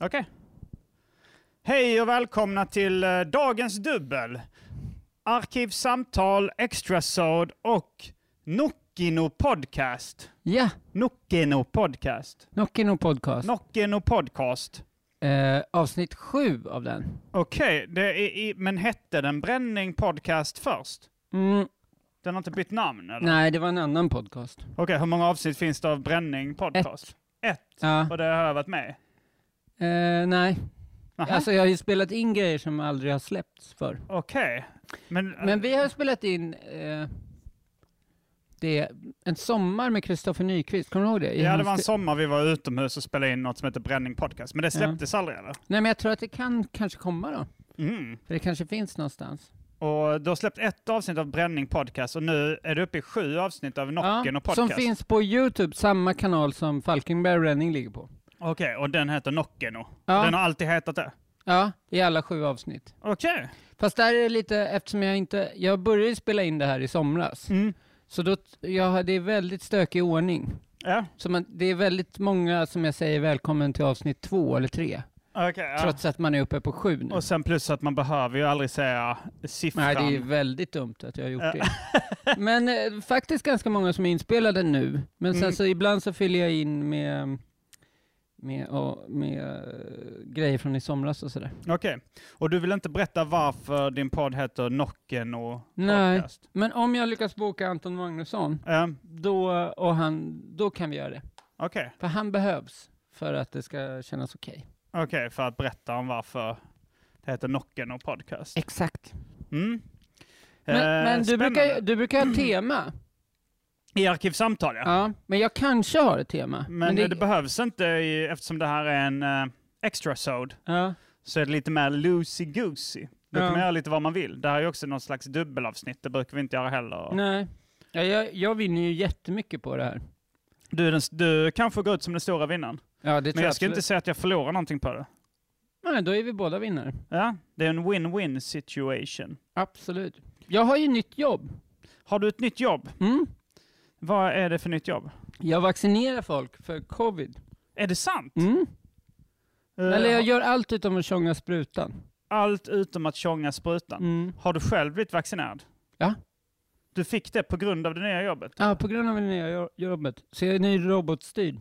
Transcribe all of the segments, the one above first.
Okej. Hej och välkomna till eh, dagens dubbel. Arkivsamtal, Extrasod och Nockino Podcast. Ja, Nockino Podcast. Nockino podcast. Nockino Podcast. Eh, avsnitt sju av den. Okej, det är i- men hette den Bränning Podcast först? Mm, Den har inte bytt namn eller? nej, det var en annan podcast. Okej, hur många avsnitt finns det av Bränning Podcast? Ett. Ja, Och det har jag varit med eh, nej. Aha. Alltså jag har ju spelat in grejer som aldrig har släppts för. Okej. Men, Men vi har spelat in eh, det, en sommar med Kristoffer Nyqvist, kommer du ihåg det? I ja, det hans var en te- sommar vi var utomhus och spelade in något som heter Bränning Podcast. Men det släpptes aldrig eller? Nej, men jag tror att det kan kanske komma då. Mm. För det kanske finns någonstans. Och du har släppt ett avsnitt av Bränning Podcast och nu är du uppe i sju avsnitt av Nocken och Podcast. som finns på Youtube, samma kanal som Falkenberg och Renning ligger på. Okej, och den heter Nocken och. Ja. Den har alltid hetat det. Ja, i alla sju avsnitt. Okej. Fast där är det lite, eftersom jag inte, jag började ju spela in det här i somras. Mm. Så då, t- jag, har- det är väldigt stökig ordning. Ja, Så man, det är väldigt många som jag säger välkommen till avsnitt två eller tre. okej. ja. Trots att man är uppe på sju nu. Och sen plus att man behöver ju aldrig säga siffran. Nej, det är ju väldigt dumt att jag har gjort det. Men eh, faktiskt ganska många som är inspelade nu. Men sen Mm. så ibland så fyller jag in med, med, ja, med eh, grejer från i somras och sådär. Okej. Och du vill inte berätta varför din podd heter Nocken och Nej. Podcast? Men om jag lyckas boka Anton Magnusson, Ja, då, och han, då kan vi göra det. Okej, För han behövs för att det ska kännas okej. Okej, för att berätta om varför det heter Nocken och Podcast. Exakt. Mm. Men, Eh, men du, spännande. brukar, du brukar ha tema. I Arkivsamtal, ja. Ja, men jag kanske har ett tema. Men, det... behövs inte i, eftersom det här är en uh, extra sod ja, så är det lite mer loosey goosey. Då Ja. kan man göra lite vad man vill. Det här är ju också någon slags dubbelavsnitt. Det brukar vi inte göra heller. nej. Ja, jag, jag vinner ju jättemycket på det här. Du, är den, s- du kanske går ut som den stora vinnaren. Ja, det Men tror jag ska absolut. inte säga att jag förlorar någonting på det. Nej, då är vi båda vinnare. Ja, det är en win-win situation. Absolut. Jag har ju nytt jobb. Har du ett nytt jobb? Mm. Vad är det för nytt jobb? Jag vaccinerar folk för covid. Är det sant? Mm. Eh, Eller jag gör allt utom att tjonga sprutan. Allt utom att tjonga sprutan. Mm. Har du själv blivit vaccinerad? Ja. Du fick det på grund av det nya jobbet? Ja, på grund av det nya jo- jobbet. Så jag är ny robotstyrd.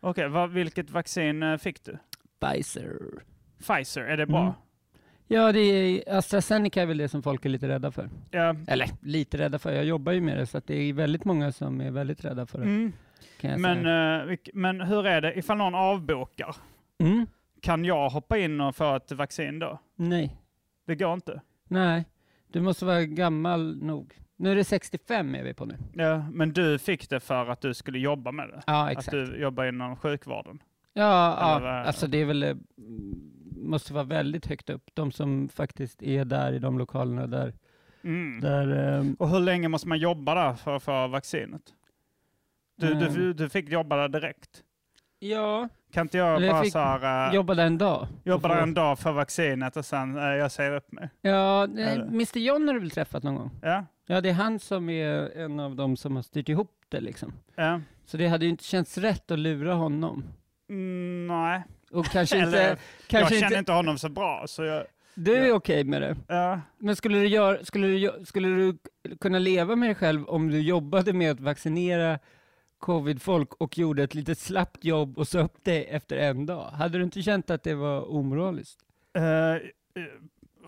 Okej, vad- vilket vaccin eh, fick du? Pfizer. Pfizer, är det bra? Mm. Ja, det är, AstraZeneca är väl det som folk är lite rädda för. Ja. Eller lite rädda för, jag jobbar ju med det så att det är väldigt många som är väldigt rädda för det. Mm. Kan jag Men, säga. eh, vilk- men hur är det, ifall någon avbokar, Mm. kan jag hoppa in och få ett vaccin då? Nej, Det går inte. nej, du måste vara gammal nog. Nu är det 65 är vi på nu. Ja, men du fick det för att du skulle jobba med det? Ja, Att exakt. du jobbar inom sjukvården? Ja, Eller ja. vad- alltså det är väl, eh, måste vara väldigt högt upp. De som faktiskt är där i de lokalerna där. Mm. där eh, Och hur länge måste man jobba där för att få vaccinet? Du, du, Mm. du fick jobba där direkt? ja, Kan inte jag Eller jag bara fick så här, eh, jobba där en dag. jobba där Och få- en dag för vaccinet och sen eh, jag säger upp mig? Ja, nej, Eller? Mr John har du väl träffat någon gång? Ja, Ja, det är han som är en av de som har styrt ihop det liksom. ja. Så det hade ju inte känts rätt att lura honom. Mm, nej. Och kanske Eller, inte... Kanske jag inte, känner inte honom så bra. Så jag, Du är okej med det. ja. Men skulle du, gör, skulle, du, gö- skulle du kunna leva med dig själv om du jobbade med att vaccinera covid-folk och gjorde ett litet slappt jobb och sa upp dig efter en dag? Hade du inte känt att det var omoraliskt? Eh, eh,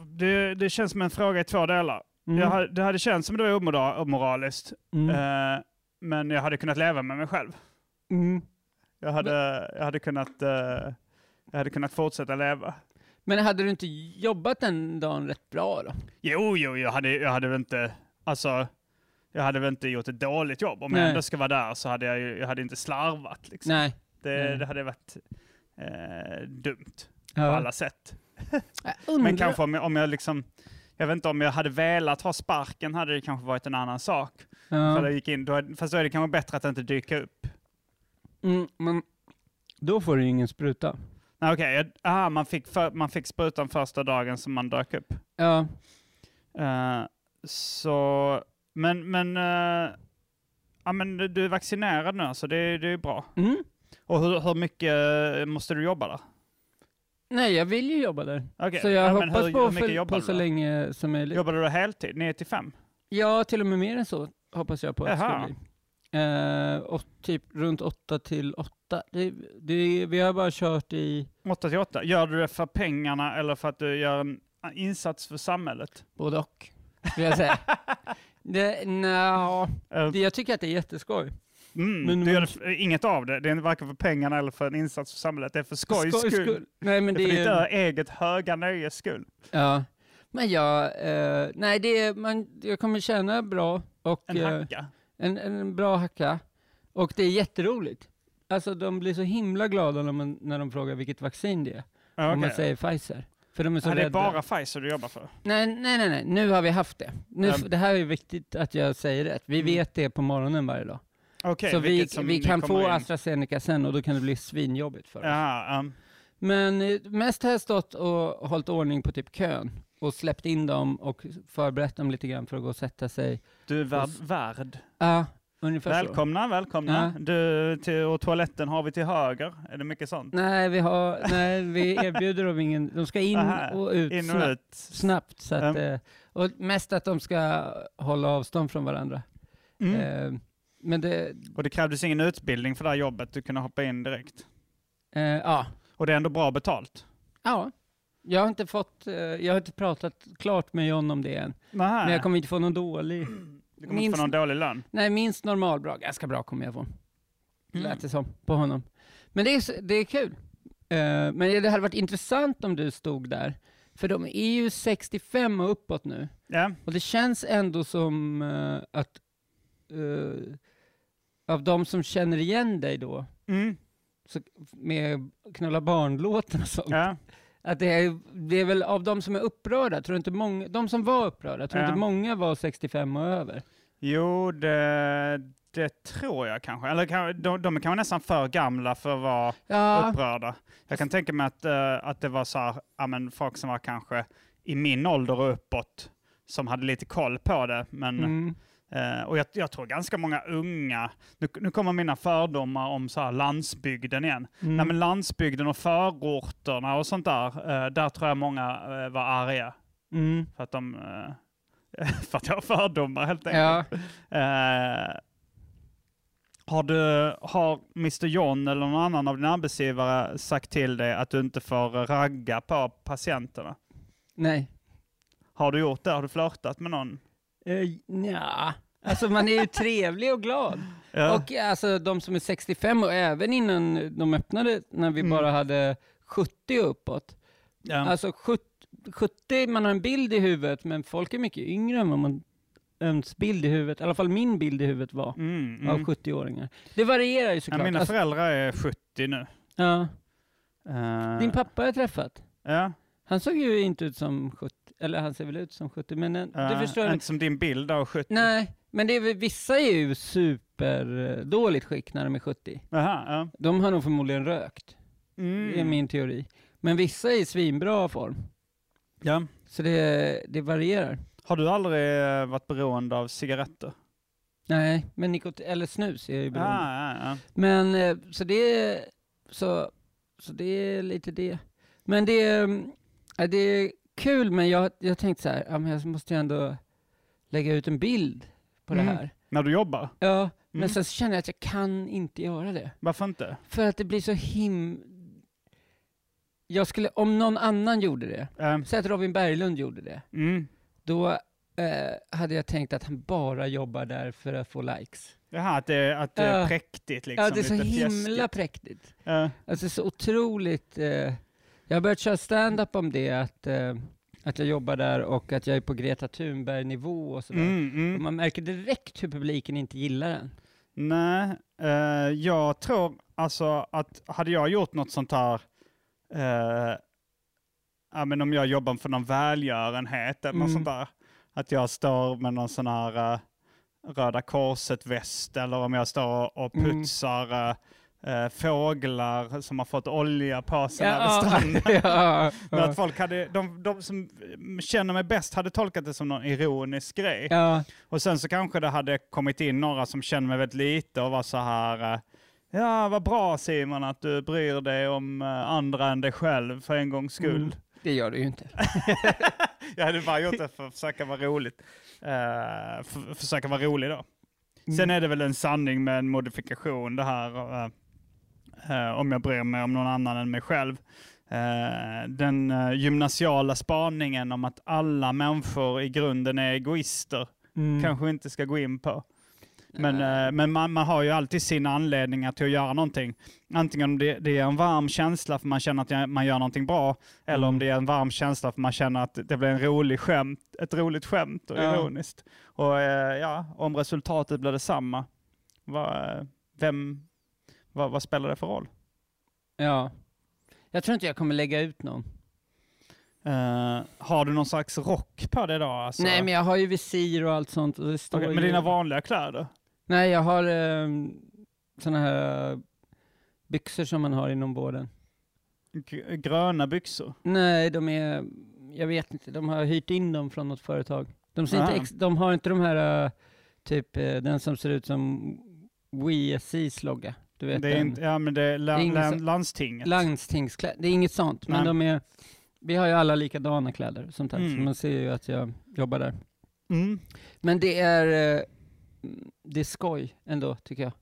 det, det känns som en fråga i två delar. Mm. Jag hade, det hade känts som det var omora- omoraliskt, Mm. eh, men jag hade kunnat leva med mig själv. Mm. Jag hade, jag hade, kunnat, eh, jag hade kunnat fortsätta leva. Men hade du inte jobbat den dagen rätt bra då? Jo, jo, jag hade, jag hade väl inte... Alltså, jag hade väl inte gjort ett dåligt jobb. Om jag Nej. ändå ska vara där så hade jag, ju- jag hade inte slarvat. Liksom. Nej. Det, nej. det hade varit eh, dumt på Ja. alla sätt. Jag Men undrar- kanske om jag, om jag liksom, jag vet inte om jag hade velat ha sparken hade det kanske varit en annan sak. Ja. Ifall jag gick in, då, hade- fast då är det kanske bättre att inte dyka upp. Mm, men då får du ju ingen spruta. Nej okej, jag- aha, man, fick för, man fick sprutan första dagen som man dök upp. Ja. Eh, så, men, men, eh, ja, men du- du är vaccinerad nu så det, det är bra. Mm. Och hur, hur mycket eh, måste du jobba där? Nej, jag vill ju jobba där. Okej, Så jag ja, men hoppas hur- på, hur mycket för, jobbar på du så då? länge som möjligt. Jobbar du heltid, 9 till 5? Ja, till och med mer än så hoppas jag på att det Jaha. ska bli. Eh, och typ runt 8 till 8. Det, det, vi har bara kört i 8 till 8? Gör du det för pengarna eller för att du gör en insats för samhället? både och, vill jag säga. det, nja, Eh, det, jag tycker att det är jätteskoj. Mm, men- du gör det för, inget av det. Det är varken för pengarna eller för en insats för samhället. Det är för skojs Skojs skull. Nej, men Det är för det ditt är... ö- eget höga nöjes skull. Ja. Men jag, eh, nej det är, man, jag kommer tjäna bra och En eh, hacka. en, en bra hacka. Och det är jätteroligt. Alltså de blir så himla glada när, man, när de frågar vilket vaccin det är. Ja, Om man Ah, okej. säger Pfizer. För de är så Ja, det rädda. är bara Pfizer du jobbar för. Nej, nej, nej, nej, nu har vi haft det. Nu, Ja. f- Det här är viktigt att jag säger rätt. Vi Mm. vet det på morgonen varje dag. Okej, så vi, vilket som vi ni kan kommer få in. AstraZeneca sen och då kan det bli svinjobbigt för oss. Ja, um, Men eh, mest har jag stått och hållit ordning på typ kön och släppt in dem och förberett dem lite grann för att gå och sätta sig. du är värd. Och s- värd. Ja, ungefär så. Välkomna, välkomna. Du, till, och toaletten har vi till höger. Är det mycket sånt? Nej, vi, har, nej, vi erbjuder dem ingen... De ska in Aha, och ut In och snabbt. ut. snabbt så att, eh, och mest att de ska hålla avstånd från varandra. Mm. Eh, men det... Och det krävdes ingen utbildning för det här jobbet. Du kunde hoppa in direkt. Eh, ja. Och det är ändå bra betalt. ja. Jag har inte fått... Eh, jag har inte pratat klart med John om det än. Nej, Men jag kommer inte få någon dålig... du kommer inte få någon dålig lön. Nej, minst normal bra. Ganska bra kommer jag få. Mm. Lät det som på honom. Men det är, så- det är kul. Eh, men det hade varit intressant om du stod där. För de är ju 65 och uppåt nu. Ja. Och det känns ändå som eh, att eh, av de som känner igen dig då, Mm. så, med knulla barnlåten och sånt, ja. att det är, det är väl av de som är upprörda, tror du inte många, de som var upprörda, tror du Ja. inte många var 65 och över? Jo, det, det tror jag kanske. Eller kan, de, de är kanske nästan för gamla för att vara Ja, upprörda. Jag kan tänka mig att, eh, att det var så här, ja, men folk som var kanske i min ålder och uppåt som hade lite koll på det. Men, mm, eh, och jag, jag tror ganska många unga, nu, nu kommer mina fördomar om så här landsbygden igen. mm. Nej, men landsbygden och förorterna och sånt där, eh, där tror jag många eh, var arga mm, för att de eh, för att jag har fördomar helt enkelt. ja. Eh, har, du, har Mr John eller någon annan av dina arbetsgivare sagt till dig att du inte får ragga på patienterna? Nej. Har du gjort det? Har du flörtat med någon? Uh, ja. Alltså man är ju trevlig och glad. Ja. Och alltså de som är 65 och även innan de öppnade, när vi Mm. bara hade 70 uppåt. Ja. Alltså 70, 70, man har en bild i huvudet, men folk är mycket yngre än vad man ens bild i huvudet, i alla fall min bild i huvudet var, mm, av mm. 70-åringar. Det varierar ju Ja, såklart. mina alltså, föräldrar är 70 nu. ja. Eh, Din pappa har jag träffat. Ja, Han såg ju inte ut som 70, eller han ser väl ut som 70, men en, eh, du förstår. Inte som din bild av 70. Nej, men det är, väl- vissa är ju superdåligt skick när de är 70. Aha, ja. De har nog förmodligen rökt, det är Mm. min teori. Men vissa är i svinbra form, Ja. så det, det varierar. Har du aldrig eh, varit beroende av cigaretter? Nej, men nikot eller snus är ju beroende. Ja, Ah, ja, ja. Men eh, så det, är- så, så det är lite det. Men det, är, mm, ja, det är kul, men jag, jag tänkte så här, ja, men jag måste ju ändå lägga ut en bild på det Mm. här. När du jobbar? Ja, men Mm. sen så känner jag att jag kan inte göra det. Varför inte? För att det blir så him... Jag skulle, om någon annan gjorde det, Eh, säg att Robin Berglund gjorde det, mm. då eh, hade jag tänkt att han bara jobbar där för att få likes. Jaha, att det, att det är Ja. präktigt liksom. ja, det är så lite himla fjäskigt. präktigt. Ja. Alltså så otroligt... Eh, jag har börjat köra stand-up om det, att, eh, att jag jobbar där och att jag är på Greta Thunberg-nivå och sådär. Mm, Och mm. man märker direkt hur publiken inte gillar den. Nej, eh, jag tror alltså att hade jag gjort något sånt här, eh, ja, men om jag jobbar för någon välgörenhet eller något sånt Mm. där, att jag står med någon sån här eh, Röda Korset-väst eller om jag står och Mm. putsar eh, eh, fåglar som har fått olja på sig över ja, stranden. ja, Men att ja, folk hade, de, de som känner mig bäst hade tolkat det som någon ironisk grej. ja, Och sen så kanske det hade kommit in några som känner mig väldigt lite och var så här, eh, Ja, vad bra Simon att du bryr dig om eh, andra än dig själv för en gångs skull. Mm. Det gör du ju inte. Jag hade bara gjort det för att försöka vara roligt. Eh, för, försöka vara rolig då. Sen är det väl en sanning med en modifikation det här. eh, eh, om jag bryr mig om någon annan än mig själv. Eh, den eh, gymnasiala spaningen om att alla människor i grunden är egoister Mm. kanske vi inte ska gå in på. Men, Nej. eh, men man, man har ju alltid sina anledningar till att göra någonting. Antingen om det, det är en varm känsla för man känner att jag- man gör någonting bra, eller om Mm. det är en varm känsla för man känner att det blir en rolig skämt, ett roligt skämt och Ja. ironiskt. Och eh, ja, om resultatet blir detsamma, vad, eh, vem, vad, vad spelar det för roll? Ja. Jag tror inte jag kommer lägga ut någon. Eh, har du någon slags rock på dig då? Alltså? Nej, men jag har ju visir och allt sånt. Och det står Okej, ju... med dina vanliga kläder? Nej, jag har um, såna här byxor som man har inom båden. G- gröna byxor? Nej, de är... Jag vet inte, de har hyrt in dem från något företag. De, ser inte Ah. ex, de har inte de här, eh, typ eh, den som ser ut som WSIs logga. Du vet Det är den. inte, ja, men det är la, Det är ingen la, som- landstinget. Landstingskläder, det är inget sånt, men Nej. de är... Vi har ju alla likadana kläder och sånt här, så Mm. man ser ju att jag jobbar där. Mm. Men det är, eh, det är skoj ändå, tycker jag.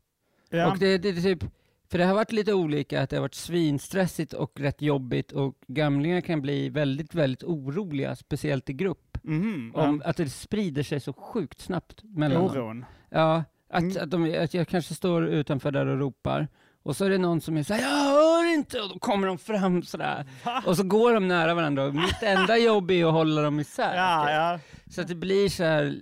Ja. Och det, det, är typ, för det har varit lite olika, att det har varit svinstressigt och rätt jobbigt och gamlingar kan bli väldigt, väldigt oroliga, speciellt i grupp. Mhm, Om att det sprider sig så sjukt snabbt ja. mellan dem. Oron. Ja, att, Mm. att, de, att jag kanske står utanför där och ropar och så är det någon som är såhär, jag hör inte! Och då kommer de fram sådär. Va? Och så går de nära varandra. Och mitt enda jobb är att hålla dem isär. Ja, ja. Så att det blir så här,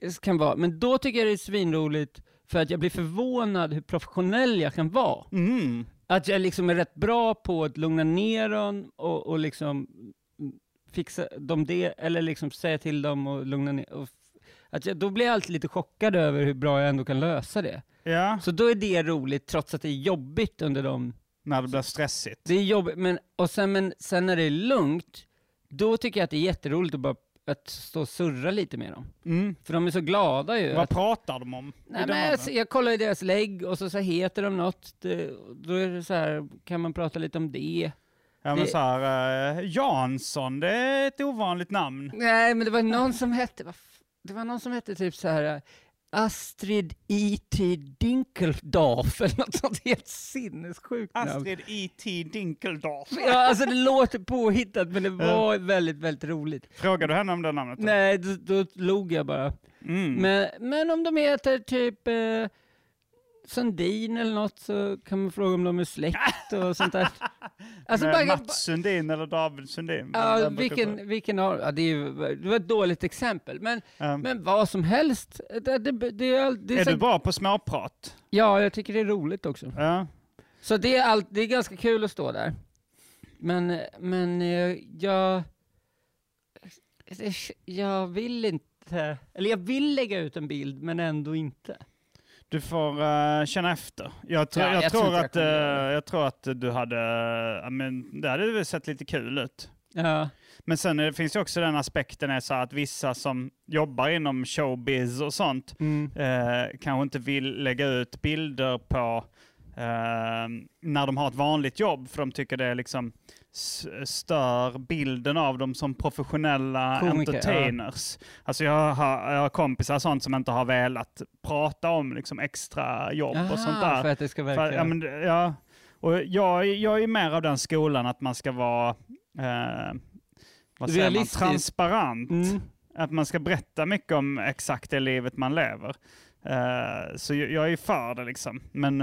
det kan vara. Men då tycker jag det är svinroligt för att jag blir förvånad hur professionell jag kan vara. Mm. Att jag liksom är rätt bra på att lugna ner dem och, och liksom mm, fixa dem det, eller liksom säga till dem och lugna ner. Och f- att jag, då blir jag alltid lite chockad över hur bra jag ändå kan lösa det. ja. Så då är det roligt trots att det är jobbigt under dem. När det blir stressigt. Det är jobbigt, men, och sen, men sen när det är lugnt, då tycker jag att det är jätteroligt att bara att stå och surra lite med dem. Mm. För de är så glada ju. Vad att, pratar de om? nej, I den men jag, åldern? jag kollar i deras lägg och så, så heter de något. Det, då är det så här, kan man prata lite om det? ja, men det- så här, eh, Jansson, det är ett ovanligt namn. Nej, men det var någon som hette, vad f- det var någon som hette typ så här eh, Astrid E.T. Dinkeldorf eller något sånt helt sinnessjukt namn. Astrid E.T. Dinkeldorf. Ja, alltså det låter påhittat men det var väldigt, väldigt roligt. Frågar du henne om det namnet? då? Nej, då, då log jag bara. Mm. Men, men om de heter typ eh, Sundin eller något så kan man fråga om de är släkt och sånt där. Alltså Med bara, Eh, Mats Sundin eller David Sundin? ja, Vem brukar säga? vilken, vilken av, ja, det, är, ju- det var ett dåligt exempel, men, Eh, men vad som helst. eh, Det, det, det, är all- det är är så, du bra på småprat? Ja, jag tycker det är roligt också. Ja. Så det är, allt det är ganska kul att stå där. Men, men eh, jag, eh, jag vill inte, eller jag vill lägga ut en bild men ändå inte. Du får eh, känna efter. Jag, tror- Ja, jag, jag tror tror inte jag att, kommer göra eh, jag tror att du hade, ja, men, det hade väl sett lite kul ut. Ja. Men sen eh, finns ju också den aspekten är så här att vissa som jobbar inom showbiz och sånt Mm. eh, kanske inte vill lägga ut bilder på eh, när de har ett vanligt jobb för de tycker det liksom s- stör bilden av dem som professionella Komiker, entertainers. Alltså jag har, jag har kompisar och sånt som inte har velat prata om liksom extra jobb och sånt där. För att det ska verka... För, ja, men, det- ja. Och jag, är- jag är mer av den skolan att man ska vara eh, vad säger man, Realistisk. transparent. mm. Att man ska berätta mycket om exakt det livet man lever. Eh, så jag, jag är för det liksom. Men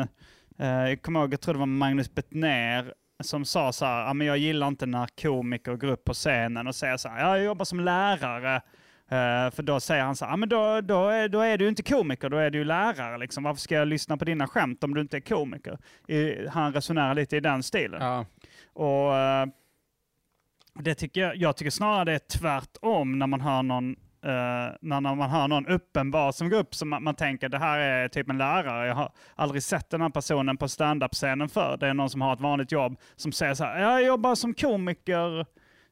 eh, jag kommer ihåg, jag tror det var Magnus Bettner som sa så här, "Ja, men jag gillar inte när komiker går upp på scenen och säger så här, "Ja, jag jobbar som lärare. Eh, för då säger han så här, "Ja, men då, då, är, då är du inte komiker, då är du ju lärare. Liksom. Varför ska jag lyssna på dina skämt om du inte är komiker? Eh, han resonerar lite i den stilen. ja. Och eh, det tycker jag, jag tycker snarare det är tvärtom när man hör någon eh, när när man hör någon uppenbar som går upp som man, man tänker det här är typ en lärare. Jag har aldrig sett den här personen på standup-scenen för. Det är någon som har ett vanligt jobb som säger så här, jag jobbar som komiker.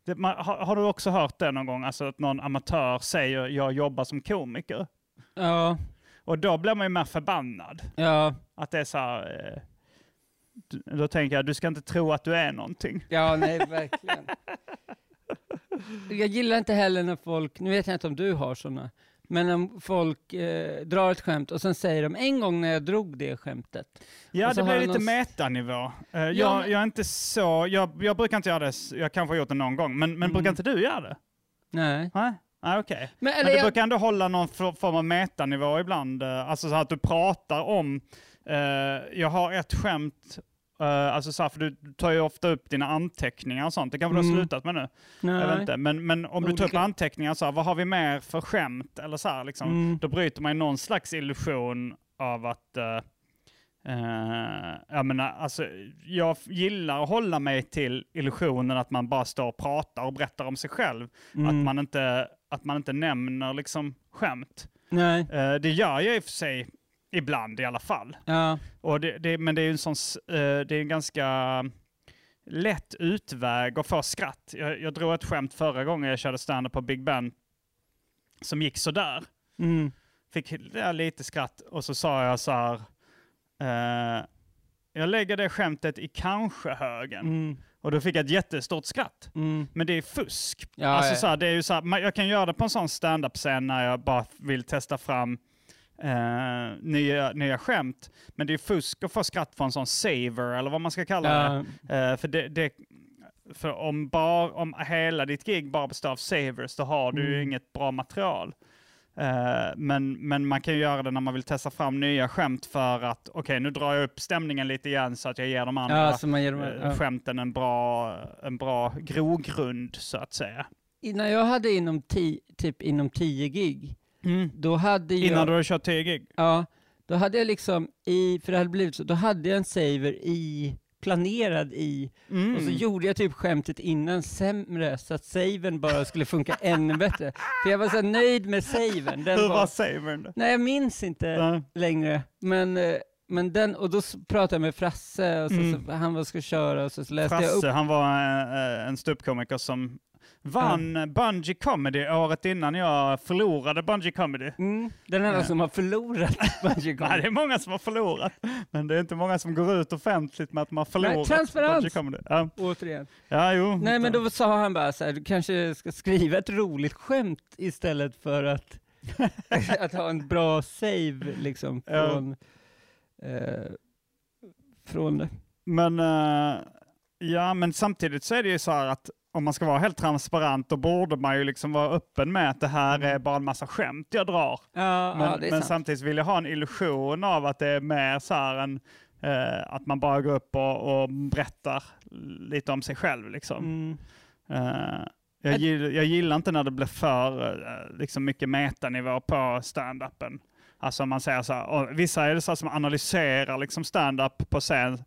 Det, man, har, har du också hört det någon gång? Alltså att någon amatör säger jag jobbar som komiker. ja, Och då blir man ju mer förbannad. ja, Att det är så här, eh, då tänker jag, du ska inte tro att du är någonting. Ja, nej, verkligen. Jag gillar inte heller när folk, nu vet jag inte om du har sådana, men om folk eh, drar ett skämt och sen säger de en gång när jag drog det skämtet. Ja, Och så det har blir du lite någon- metanivå. Eh, jag, men- jag är inte så, jag, jag brukar inte göra det, s- jag kanske har gjort det någon gång, men, men Mm. brukar inte du göra det? Nej. Nej, Nej, okej. Men, Men eller du jag, brukar ändå hålla någon for- form av metanivå ibland, eh, alltså så här att du pratar om, eh, jag har ett skämt, eh, alltså så här, för du tar ju ofta upp dina anteckningar och sånt, det kanske du har Mm. slutat med nu? Jag vet nej. inte. Men, men om du tar upp Olika- anteckningar, så här, vad har vi mer för skämt? Eller så här, liksom, Mm. Då bryter man ju någon slags illusion av att... eh, eh, jag, menar, alltså, jag f- gillar att hålla mig till illusionen att man bara står och pratar och berättar om sig själv. Att, Mm. man inte, att man inte nämner liksom, skämt. Nej, Eh, det gör jag i och för sig ibland i alla fall. ja. Och det, det, men det är ju en sån, s- eh, det är en ganska lätt utväg att få skratt. Jag, jag drog ett skämt förra gången jag körde stand på Big Ben som gick sådär. Mm. Fick där lite skratt och så sa jag så här. Eh, jag lägger det skämtet i kanske-högen. Mm. Och då fick jag ett jättestort skratt. Mm. Men det är fusk. Ja, alltså, ja. så här, det är ju så här, man, jag kan göra det på en sån stand-up-scen när jag bara vill testa fram eh, nya, nya skämt. Men det är fusk att få skratt från en sån saver, eller vad man ska kalla Ja. det. Eh, för det, det för om, bar, om hela ditt gig bara består av savers, då har du ju Mm. inget bra material. Eh, men, men man kan ju göra det när man vill testa fram nya skämt för att, okej, nu drar jag upp stämningen lite igen så att jag ger de andra ja, så man ger dem, eh, ja. skämten en bra, en bra grogrund så att säga. Innan jag hade inom ti, typ inom 10 gig, då hade jag... Innan du har kört 10 gig. Ja, då hade jag liksom i, för det hade blivit så, då hade jag en saver i, planerad i, Mm. och så gjorde jag typ skämtet innan sämre så att savern bara skulle funka ännu bättre. För jag var så nöjd med savern. Den Hur var, var savern då? nej, jag minns inte Ja. längre, men, eh, men den, och då s- pratade jag med Frasse, och så, Mm. så, han var ska köra, och så, så läste jag upp. Frasse, han var eh, en ståuppkomiker som vann Bungee Comedy året innan jag förlorade Bungee Comedy. Mm, den enda Ja. som har förlorat Bungee Nej, det Comedy. är många som har förlorat, men det är inte många som går ut offentligt med att man har förlorat. transparens. Bungee Comedy. Ja, Återigen. ja jo. Nej men då sa han bara så här, du kanske ska skriva ett roligt skämt istället för att, att ha en bra save liksom Ja. från, eh, från det. Men, eh, ja, men samtidigt så är det ju så här att om man ska vara helt transparent då borde man ju liksom vara öppen med att det här Mm. är bara en massa skämt jag drar. Ja, Men, ja det är men sant. samtidigt vill jag ha en illusion av att det är mer så här en, eh, att man bara går upp och, och berättar lite om sig själv. Liksom. Mm. Eh, jag, Men- gill, jag gillar inte när det blir för eh, liksom mycket metanivå på stand-upen. Alltså om man säger så här, och vissa är det så här som analyserar liksom stand-up på scen.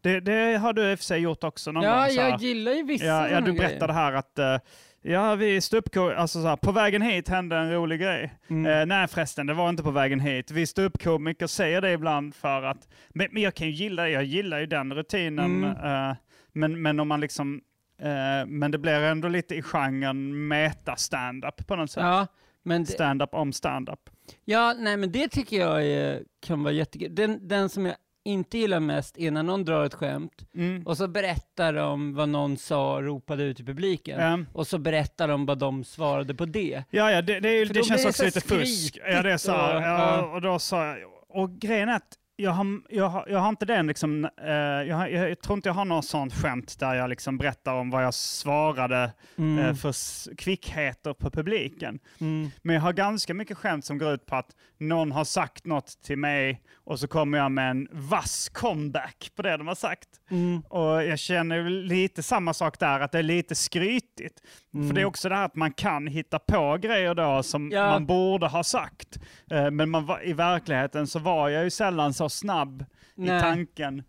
Det, det har du i och för sig gjort också någon Ja, gång. så här. jag gillar ju vissa Ja, ja, såna du grejer. berättade här att eh, ja, vi ståuppko- alltså så här, på vägen hit hände en rolig grej. Mm. Eh, nej förresten, det var inte på vägen hit. Vi ståuppkomiker säger det ibland för att, men, men jag kan ju gilla, jag gillar ju den rutinen. Mm. eh, men, men om man liksom, eh, men det blir ändå lite i genren meta-standup på något sätt. Ja, men det, Standup om standup. ja, nej men det tycker jag är, kan vara jättekul. Den, den som jag inte gillar mest är när någon drar ett skämt Mm. och så berättar de vad någon sa och ropade ut i publiken. Ehm, Och så berättar de vad de svarade på det. Ja, ja, det, det, är- För det då blir känns det också så lite fusk. skrikigt Ja, det är så här, och- ja, ja. och då sa jag, och grejen är att jag har, jag har, jag har inte den liksom, eh, jag, har- jag tror inte jag har något sånt skämt där jag liksom berättar om vad jag svarade Mm. eh, för s- kvickheter på publiken. Mm. Men jag har ganska mycket skämt som går ut på att någon har sagt något till mig och så kommer jag med en vass comeback på det de har sagt. Mm. Och jag känner väl lite samma sak där, att det är lite skrytigt. För det är också det här att man kan hitta på grejer då som Mm. Ja. man borde ha sagt. Eh, Men man var, i verkligheten så var jag ju sällan så snabb i Nej. tanken.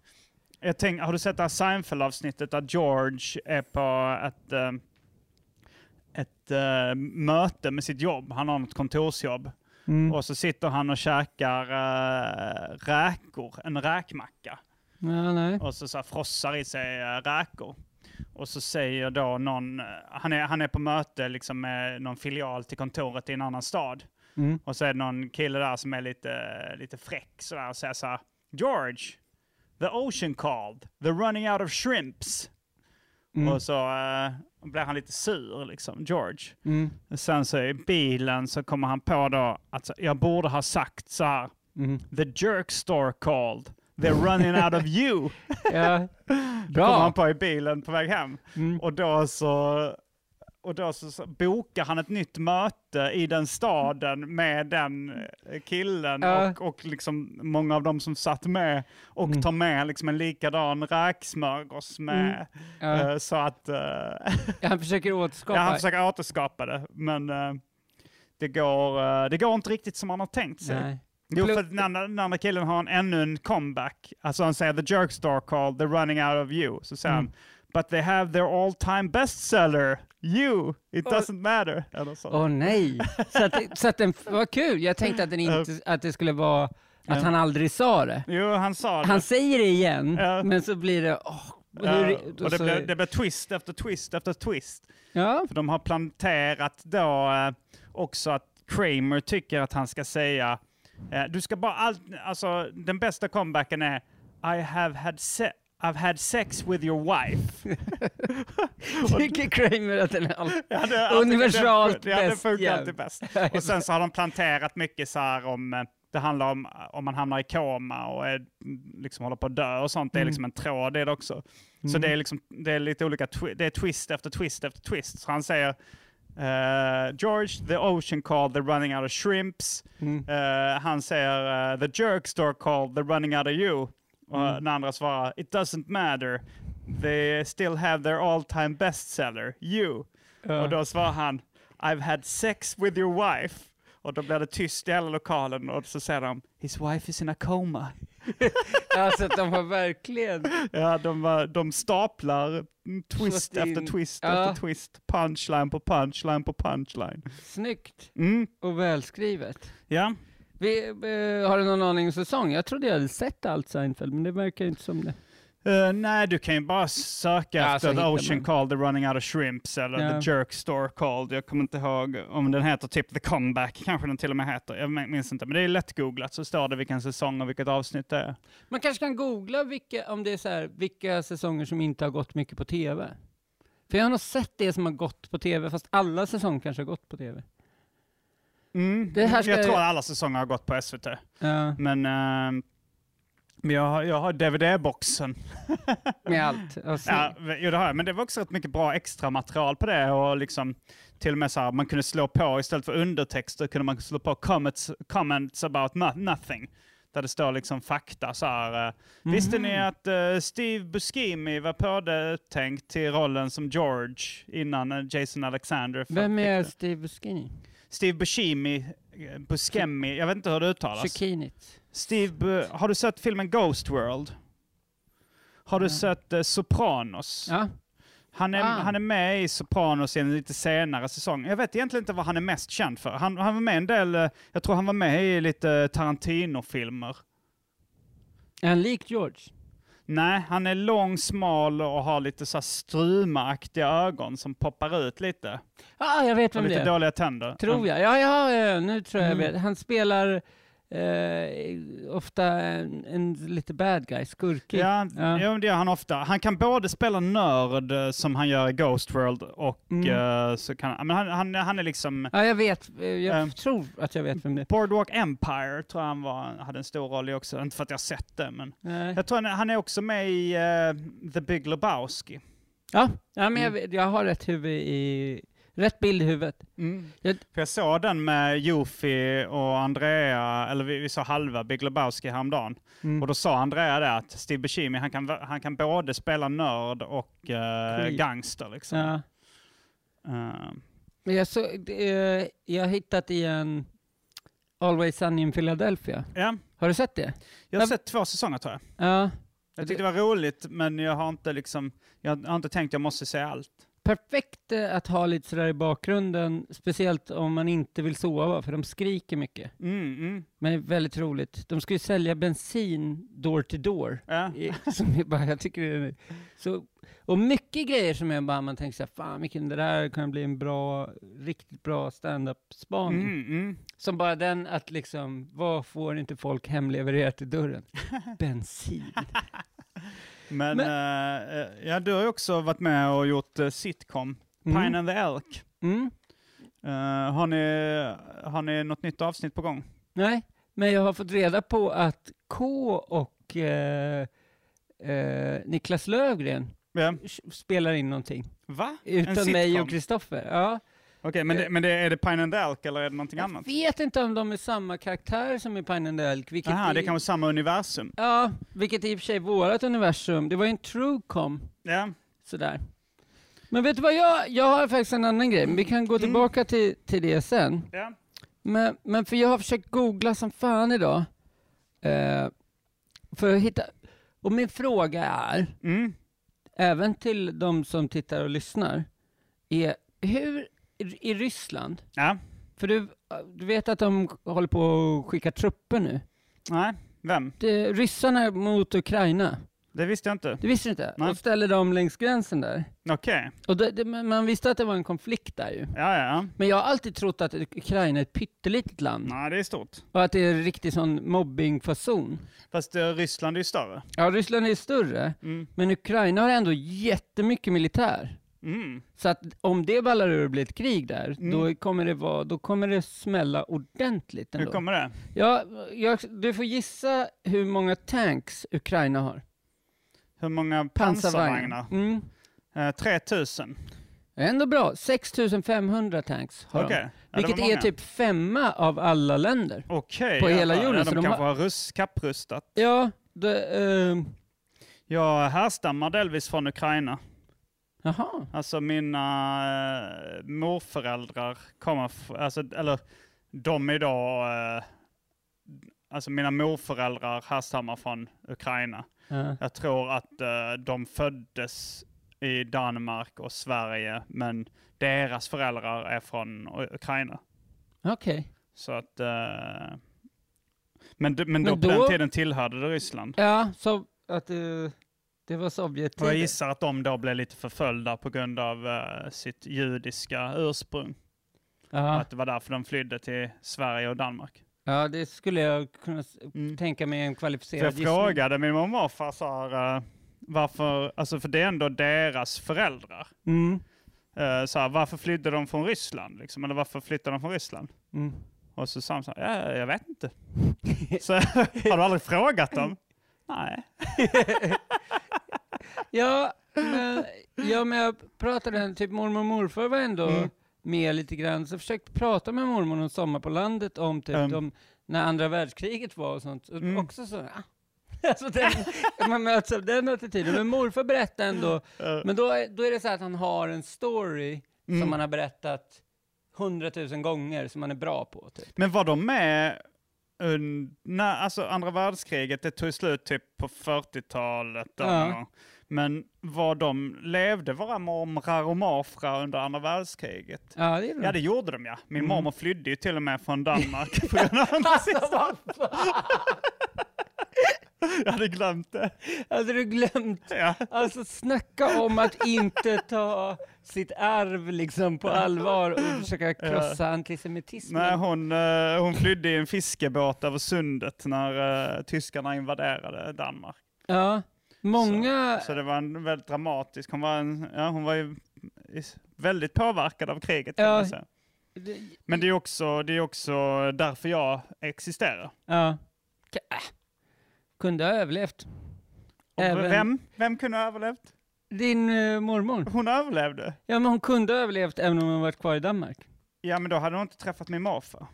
Jag tänk, har du sett det här Seinfeld-avsnittet där George är på ett, eh, ett eh, möte med sitt jobb? Han har något kontorsjobb. Mm. Och så sitter han och käkar eh, räkor, en räkmacka. Ja, nej. Och så, så här, frossar i sig eh, räkor. Och så säger då någon, eh, han är, han är på möte liksom med någon filial till kontoret i en annan stad. Mm. Och så är det någon kille där som är lite, lite fräck sådär och säger så här, George, The ocean called. The running out of shrimps. Mm. Och så eh, blir han lite sur, liksom, George. Mm. Sen så i bilen så kommer han på då att så- jag borde ha sagt så här. Mm. The jerk store called. They're running out of you. Ja. Kommer Bra. han på i bilen på väg hem. Mm. Och då så... Och då så, så bokar han ett nytt möte i den staden med den eh, killen Ja. Mm. och, och liksom många av dem som satt med och tar med liksom en likadan räksmörgås med. Mm. Ja. eh, Så att eh, Han försöker återskapa. Ja, han försöker återskapa det, men eh, det, går, eh, det går inte riktigt som han har tänkt sig. Nej. Jo, Plus- för att den andra, den andra killen har en, ännu en comeback. Alltså han säger the jerk star called, they're running out of you. Så Mm. säger han, but they have their all time bestseller, you, it doesn't matter. Eller så. Åh nej! Så att, så att den, vad kul! Jag tänkte att, den inte, att det skulle vara att han aldrig sa det. Jo, han sa det. Han säger det igen, Ja. men så blir det... åh, Ja, hur, och det så- blir, det blir twist efter twist efter twist. ja, För de har planterat då eh, också att Kramer tycker att han ska säga, eh, du ska bara allt, alltså den bästa comebacken är I have had se- I've had sex with your wife. tycker Kramer att den är all... Ja, det- alltså, Universalt det, det, det bäst, funkar ja. alltid bäst. Och sen så har de planterat mycket så här om, eh, det handlar om om man hamnar i koma och är, liksom håller på att dö och sånt. Det är Mm. liksom en tråd det också. Så det är, liksom, det är lite olika, twi- det är twist efter twist efter twist. Så han säger eh, George, the ocean called, the running out of shrimps. Mm. Eh, han säger eh, the jerk store called, the running out of you. Och Mm. den andra svarar it doesn't matter. They still have their all time bestseller, you. Och då svarar han I've had sex with your wife. Och då blir det tyst i hela lokalen och så säger de His wife is in a coma. Alltså att de har verkligen... Ja, de, var, de staplar mm, twist Slått in. efter twist Ja. efter twist. Punchline på punchline på punchline. Snyggt Mm. och välskrivet. Ja. Vi, eh, har du någon aning om säsong? Jag trodde jag hade sett allt Seinfeld, men det verkar inte som det. Eh, nej, du kan ju bara söka Ja, så efter The hittar Ocean man. Called, The Running Out of Shrimps eller Ja. The Jerk Store Called. Jag kommer inte ihåg om den heter typ The Comeback, kanske den till och med heter. Jag min- minns inte, men det är lätt googlat så står det vilken säsong och vilket avsnitt det är. Man kanske kan googla vilka, om det är så här, vilka säsonger som inte har gått mycket på tv. För jag har nog sett det som har gått på tv, fast alla säsonger kanske har gått på tv. Mm. Det här ska- Jag tror att alla säsonger har gått på SVT. Ja, Men eh, men jag har, jag har DVD-boxen. med allt. Alltså, Ja, jo, det har jag. Men det var också rätt mycket bra extra material på det. Och liksom, till och med så här, man kunde slå på, istället för undertexter kunde man slå på comments, comments about no- nothing. Där det står liksom fakta så här. eh, Mhm. Visste ni att eh, Steve Buscemi var påtänkt till rollen som George innan eh, Jason Alexander fick Vem är det?" Steve Buscini? Steve Buscemi, eh, Buscemi, jag vet inte hur det uttalas. Chikinit. Steve, Bu- har du sett filmen Ghost World? Har du sett eh, Sopranos? Ja. Han är, Ah. han är med i Sopranos i en lite senare säsong. Jag vet egentligen inte vad han är mest känd för. Han, han var med i en del, eh, jag tror han var med i lite Tarantino-filmer. Är han lik George? Nej, han är lång, smal och har lite så här strumaaktiga ögon som poppar ut lite. Ja, ah, jag vet Och vem det lite är. dåliga tänder. Tror jag. Ja, ja, ja, nu tror jag Mm. jag vet. Han spelar eh, ofta en, en lite bad guy, skurkig. Ja, Ja. Jo, det gör han ofta. Han kan både spela nörd eh, som han gör i Ghost World och eh, så kan han, men han, han, han är liksom Ja, jag vet. Eh, Jag Ehm. tror att jag vet vem det är. Boardwalk Empire tror jag han var, hade en stor roll i också. Inte för att jag har sett det men. Nej. Jag tror han, han är också med i eh, The Big Lebowski. Ja, ja men jag, vet- jag har rätt huvud i... Rätt bild i huvudet. Jag- För jag såg den med Jofi och Andrea, eller vi, vi såg halva Big Lebowski häromdagen. Mm. Och då sa Andrea det att Steve Buscemi, han kan, han kan både spela nörd och eh, Creep. gangster liksom. Ja. Eh, Men jag, så, eh, jag har hittat i en Always Sunny in Philadelphia. ja. Har du sett det? Jag har Ja. sett två säsonger tror jag. Ja. Jag tyckte det var roligt men jag har inte liksom, jag har inte tänkt jag måste se allt. perfekt eh, att ha lite sådär i bakgrunden, speciellt om man inte vill sova, för de skriker mycket. Mm, mm. Men det är väldigt roligt. De ska ju sälja bensin door to door. Ja. I- Som är bara, jag tycker det är, så, och mycket grejer som är bara, man tänker så här, fan vilken, det där kan bli en bra, riktigt bra standup-spaning. Mm, mm. Som bara den att liksom, vad får inte folk hemlevererat till dörren? Bensin. Mm, Men, eh, eh, ja, du har ju också varit med och gjort eh, sitcom, Mm. Pine and the Elk. Mm. Eh, har, ni, har ni något nytt avsnitt på gång? Nej, men jag har fått reda på att K och eh, eh, Niklas Lövgren Ja. spelar in någonting. Va? Utan mig sitcom? och Kristoffer. Ja. Okej, men, det, men det, är det Pine and the Elk eller är det någonting Eh. Jag annat? vet inte om de är samma karaktär som i Pine and the Elk. Vilket Aha, det i- är kanske samma universum? Ja, vilket i och för sig är vårat universum. Det var ju en Truecom, Ja. sådär. Men vet du vad, jag, jag har faktiskt en annan grej. Vi kan gå tillbaka till, till det sen. ja. Men, men för jag har försökt googla som fan idag. Eh, för att hitta... Och min fråga är, Mm. även till de som tittar och lyssnar, är hur i Ryssland, ja. för du, du vet att de håller på att skicka trupper nu. Nej, vem? Det, ryssarna mot Ukraina, Det visste jag inte. det visste du inte? Nej. Och ställer dem längs gränsen där. Okej. Och det, det, men man visste att det var en konflikt där ju. Ja, ja, ja. Men jag har alltid trott att Ukraina är ett pyttelitet land Nej, det är stort. och att det är en riktig sån mobbingfason. Fast eh, Ryssland är ju större. Ja, Ryssland är större, Mm. men Ukraina har ändå jättemycket militär. Mm. Så att om det ballar ur och blir ett krig där, Mm. då, kommer det vara, då kommer det smälla ordentligt Hur ändå. kommer det? Ja, jag, du får gissa hur många tanks Ukraina har. Hur många pansarvagnar? Mm. Eh, 3000. Ändå bra, 6500 tanks har Okej. de. Ja, det var Vilket är många. typ femma av alla länder. Okej, på ja, hela ja, jorden, Ja, så de de kanske har rus- kapprustat. Ja, det, eh, Jag härstammar delvis från Ukraina. jaha. Alltså mina eh, morföräldrar kommer, f- alltså, eller de är då, eh, alltså mina morföräldrar härstammar från Ukraina. Ja. Jag tror att eh, de föddes i Danmark och Sverige, men deras föräldrar är från U- Ukraina. Okej. Så att, eh, men, d- men, då, Men på då- den tiden tillhörde det Ryssland. Ja, så att eh, det var Sovjet. Och jag gissar att de då blev lite förföljda på grund av eh, sitt judiska ursprung. Ja. Att det var därför de flydde till Sverige och Danmark. ja, det skulle jag kunna s- Mm. tänka mig en Så jag kvalificerad gissning. frågade min mamma och morfar så här, eh, varför, alltså för det är ändå deras föräldrar. Mm. Eh, Så här, varför flydde de från Ryssland? Liksom? Eller varför flyttade de från Ryssland? Mm. Och så sa de så här, ja, jag vet inte. Så har du aldrig frågat dem? Nej. Ja, men, ja, men jag pratade, typ mormor och morfar var ändå Mm. med lite grann, så jag försökte prata med mormor om Sommar på landet om typ Mm. de, när andra världskriget var och sånt. Och Mm. Också så, ah. alltså den, man möts av den attityden. Men morfar berättade ändå, Eh, men då, är- då är det så här att han har en story Mm. som han har berättat hundratusen gånger som han är bra på. Typ. Men var de med un- när, alltså andra världskriget, det tog slut typ på 40-talet. där Ja. någon gång. Men var de, levde våra mormrar och morfrar under andra världskriget? Ja, det är bra. Ja det gjorde de ja. Min Mm. mormor flydde ju till och med från Danmark på grund av andra Alltså, vad fan? Jag hade glömt det. Hade du glömt Ja. Alltså snacka om att inte ta sitt arv liksom på allvar och försöka krossa antisemitismen. Nej, hon, eh, hon flydde i en fiskebåt över sundet när eh, tyskarna invaderade Danmark. Ja, många... Så det var en väldigt dramatisk, hon var, en, ja, hon var ju is- väldigt påverkad av kriget. kan Ja. man säga. det- Men det är, också, det är också därför jag existerar. ja. Ka- äh. Kunde ha överlevt. Och Även- vem, vem kunde ha överlevt? Din eh, mormor. Hon överlevde. Ja, men hon kunde ha överlevt även om hon varit kvar i Danmark. Ja men då hade hon inte träffat min morfar.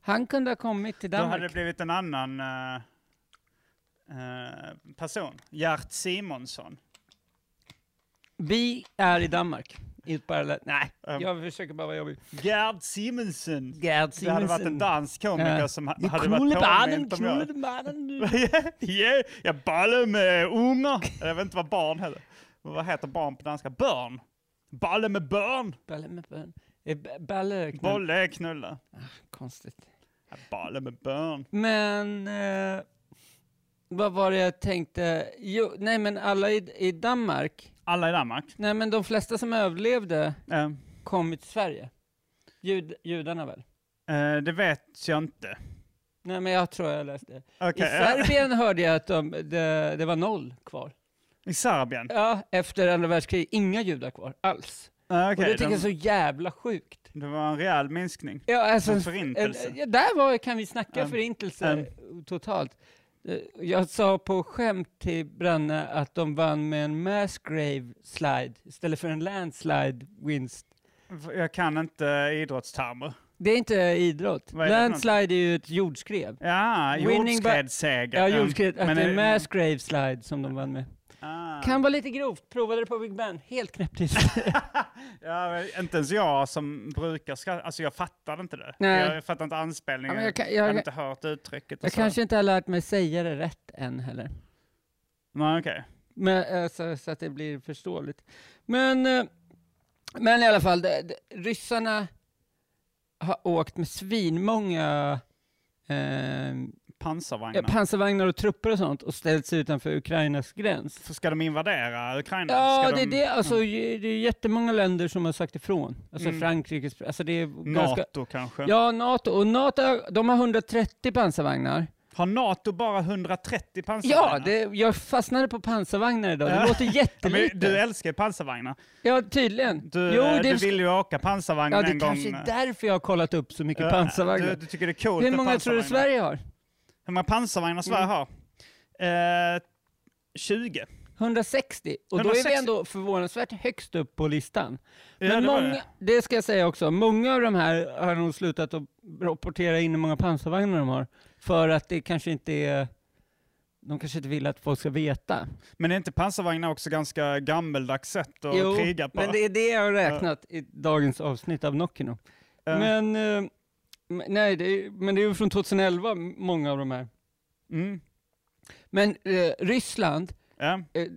Han kunde ha kommit till Då hade det Danmark. blivit en annan eh, eh, person. Gert Simonsson. Vi är i Danmark. I ett parallellt... Nej, Ehm. jag försöker bara vara jobbig. Gerd Simonsen. Gerd Det hade varit en dansk komiker Ja. som ha- Du hade knulle varit barnen, påmind om jag. knulle barnen. du. Ja, ja, jag ballar med ungar. Jag vet inte vad barn heter. Vad heter barn på danska? Börn? Balle med barn! Balle med barn. Eh, ba- Balle knull. Bolle är knulla. Konstigt. Ja, Balle med barn. Men eh, vad var det jag tänkte? Jo, nej men alla i, i Danmark, Alla i Danmark. nej men de flesta som överlevde Eh, kom till Sverige. Jud, judarna väl? eh, det vet jag inte. Nej men jag tror jag läste det. I Okej, eh, Serbien hörde jag att de, det, det var noll kvar. I Serbien? Ja, efter andra världskriget, inga judar kvar alls. Eh, Och Okej, det tycker jag är de, så jävla sjukt. det var en rejäl minskning. Ja, alltså, En en- förintelse. en- Ja, där var, kan vi snacka En- förintelse totalt. Eh, Jag sa på skämt till Branne att de vann med en mass grave slide istället för en landslide winst. Jag kan inte idrottstermer. Det är inte idrott. Vad är det för landslide är ju ett jordskred. Ja, Winning by- jordskredsseger. Ja, Eh, jordskred. Att men det är det- en mass grave slide som de vann med. ah. Kan vara lite grovt. Provade det på Big Ben. Helt knäpptyst. Ja, men inte ens jag som brukar skratta. Alltså jag fattar inte det. Nej. Jag fattar inte anspelningen. Ja, men jag jag, kan- jag- hade inte hört uttrycket. Och Jag så. kanske inte har lärt mig säga det rätt än heller. Nej, okej. Men, eh, så, så att det blir förståeligt. Men, eh, men i alla fall, det, det, ryssarna har åkt med svinmånga eh, Pansarvagnar. pansarvagnar och trupper och sånt och ställt sig utanför Ukrainas gräns. För Ska de invadera Ukraina? Ja, Mm, Ska det, är de... det, alltså, ju- det är jättemånga länder som har sagt ifrån. Alltså Mm. Frankrike, alltså det är ganska... NATO kanske? Ja, NATO. Och NATO, de har 130 pansarvagnar. Har NATO bara 130 pansarvagnar? Ja, det, jag fastnade på pansarvagnar idag. Alltså, Ja. Det låter Ja, men jättelite. du älskar ju pansarvagnar. Ja, tydligen. Du, jo, eh, det du vill ju åka pansarvagn Ja, det en gång. eh, kanske är därför jag har kollat upp så mycket Ja, pansarvagnar. Du, du tycker det är coolt Hur med många tror du pansarvagnar. Sverige Mm. har? Hur många pansarvagnar Sverige har? Eh, 20. 160. Och då är 160. vi ändå förvånansvärt högst upp på listan. Ja, Men det var många, det ska jag säga också, många av de här har nog slutat att rapportera in hur många pansarvagnar de har. För att det kanske inte är... De kanske inte vill att folk ska veta. Men är inte pansarvagnar också ganska gammeldags sätt att jo, kriga på? men det är det jag har räknat i dagens avsnitt av Nockino. Eh, Men, eh, m- nej, det är, men det är ju från 2011, många av de här. mm, Men eh, Ryssland, ja. eh, eh,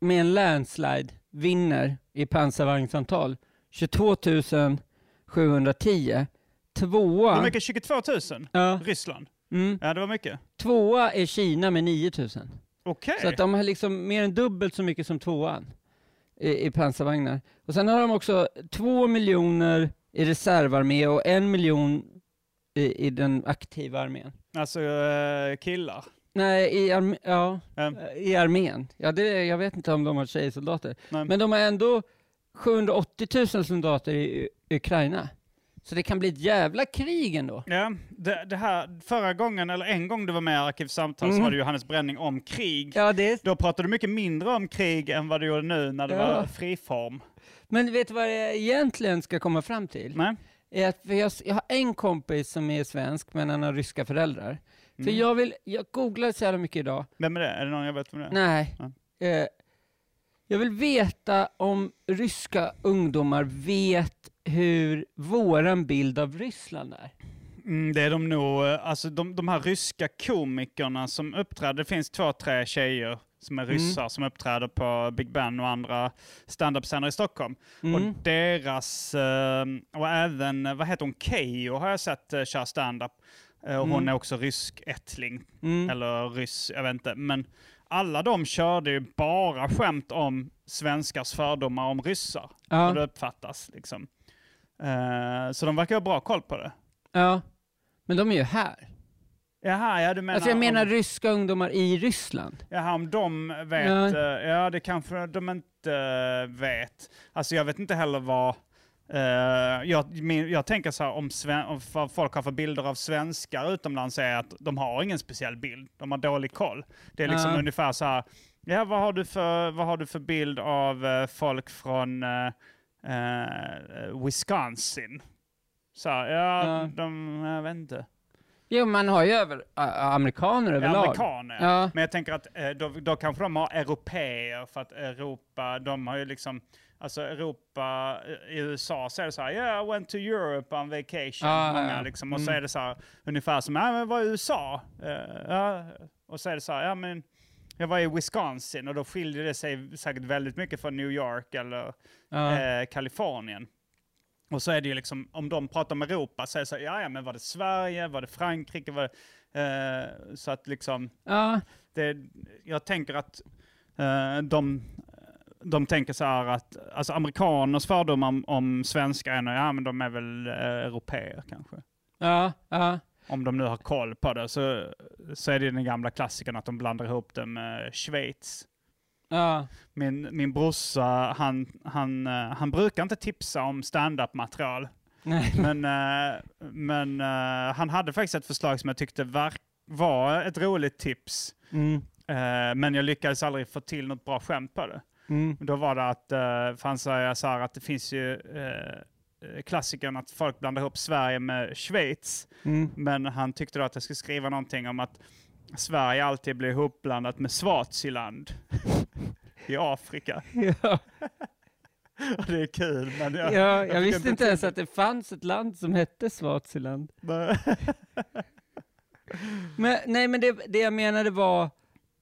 med en landslide, vinner i pansarvagnsantal 22 710. Det var Tvåa, mycket 22 000. ja, Ryssland. mm, Ja, det var mycket. tvåa är Kina med 9 000. Okej. Så att de har liksom mer än dubbelt så mycket som tvåan i, i pansarvagnar. Och sen har de också två miljoner i reservarmé och en miljon i, i den aktiva armén. Alltså eh, killar. Nej, i, arm ja, Ehm. i armén. Ja, det, jag vet inte om de har tjejsoldater. Nej. Men de har ändå 780 000 soldater i U- Ukraina. Så det kan bli ett jävla krig ändå. Ja, det, det här, förra gången, eller en gång du var med i Arkivsamtal så Mm. var det Johannes Bränning om krig. Ja, det är... Då pratade du mycket mindre om krig än vad du gjorde nu när det Ja. var friform. Men vet du vad jag egentligen ska komma fram till? Nej? Är att för jag, s- jag har en kompis som är svensk men han har ryska föräldrar. För Mm. jag, vill, jag googlade så jävla mycket idag. Vem är det? Är det någon jag vet vem det är? Nej. Ja. Eh, jag vill veta om ryska ungdomar vet hur våran bild av Ryssland är. Mm, det är de nog. eh, Alltså de, de här ryska komikerna som uppträder. Det finns två, tre tjejer som är Mm. ryssar som uppträder på Big Ben och andra standup-scener i Stockholm. Och Mm. deras, eh, och även, eh, vad heter hon, Keyyo har jag sett eh, köra standup. Eh, Och Hon Mm. är också rysk ättling, Mm. eller ryss, jag vet inte. Men alla de körde ju bara skämt om svenskars fördomar om ryssar. Hur det Ja, uppfattas liksom. Eh, så de verkar ha bra koll på det. ja. Men de är ju här. Jaha, ja du menar, alltså jag menar om, ryska ungdomar i Ryssland. jaha, om de vet, ja. ja det kanske de inte eh, vet. Alltså jag vet inte heller vad, eh, jag, min, jag tänker så här om, sven, om vad folk har för bilder av svenskar utomlands är att de har ingen speciell bild, de har dålig koll. Det är liksom Ja. ungefär så här, ja vad har du för, vad har du för bild av eh, folk från eh, eh, Wisconsin? Så här, ja, Ja. de, jag vet inte. Jo, man har ju över, a- a- amerikaner Ja, överlag. Amerikaner. ja. Ja, Men jag tänker att eh, då, då kanske de har européer för att Europa, de har ju liksom, alltså Europa, eh, i USA så är det så här, yeah I went to Europe on vacation. Ja, många, ja, ja. Liksom, och så Mm. "Ah, är det så här, ungefär som, ja men vad är USA? Eh, ja. Och så är det så här, ja men jag var i Wisconsin och då skiljer det sig säkert väldigt mycket från New York eller Ja. eh, Kalifornien. Och så är det ju liksom, om de pratar om Europa så är det så här, ja, ja men var det Sverige, var det Frankrike, var det, eh, så att liksom, ja. det, jag tänker att eh, de, de tänker så här att, alltså amerikaners fördomar om, om svenskar är nog, ja men de är väl eh, europeer kanske. Ja, ja. Om de nu har koll på det så, så är det den gamla klassikern att de blandar ihop det med Schweiz. Ja. Min, min brorsa, han, han, eh, han brukar inte tipsa om stand-up material Nej. men, eh, men eh, han hade faktiskt ett förslag som jag tyckte verk- var ett roligt tips. Mm. Eh, men jag lyckades aldrig få till något bra skämt på det. Mm. Då var det att, eh, för han sa ju så här att det finns ju eh, klassikern att folk blandar ihop Sverige med Schweiz. Mm. Men han tyckte då att jag skulle skriva någonting om att Sverige alltid blir ihopblandat med Swaziland i Afrika. Ja. Och det är kul, men jag, Ja, tycker jag visste inte inte ens att det fanns ett land som hette Swaziland. Men, nej, men det, det jag menade var,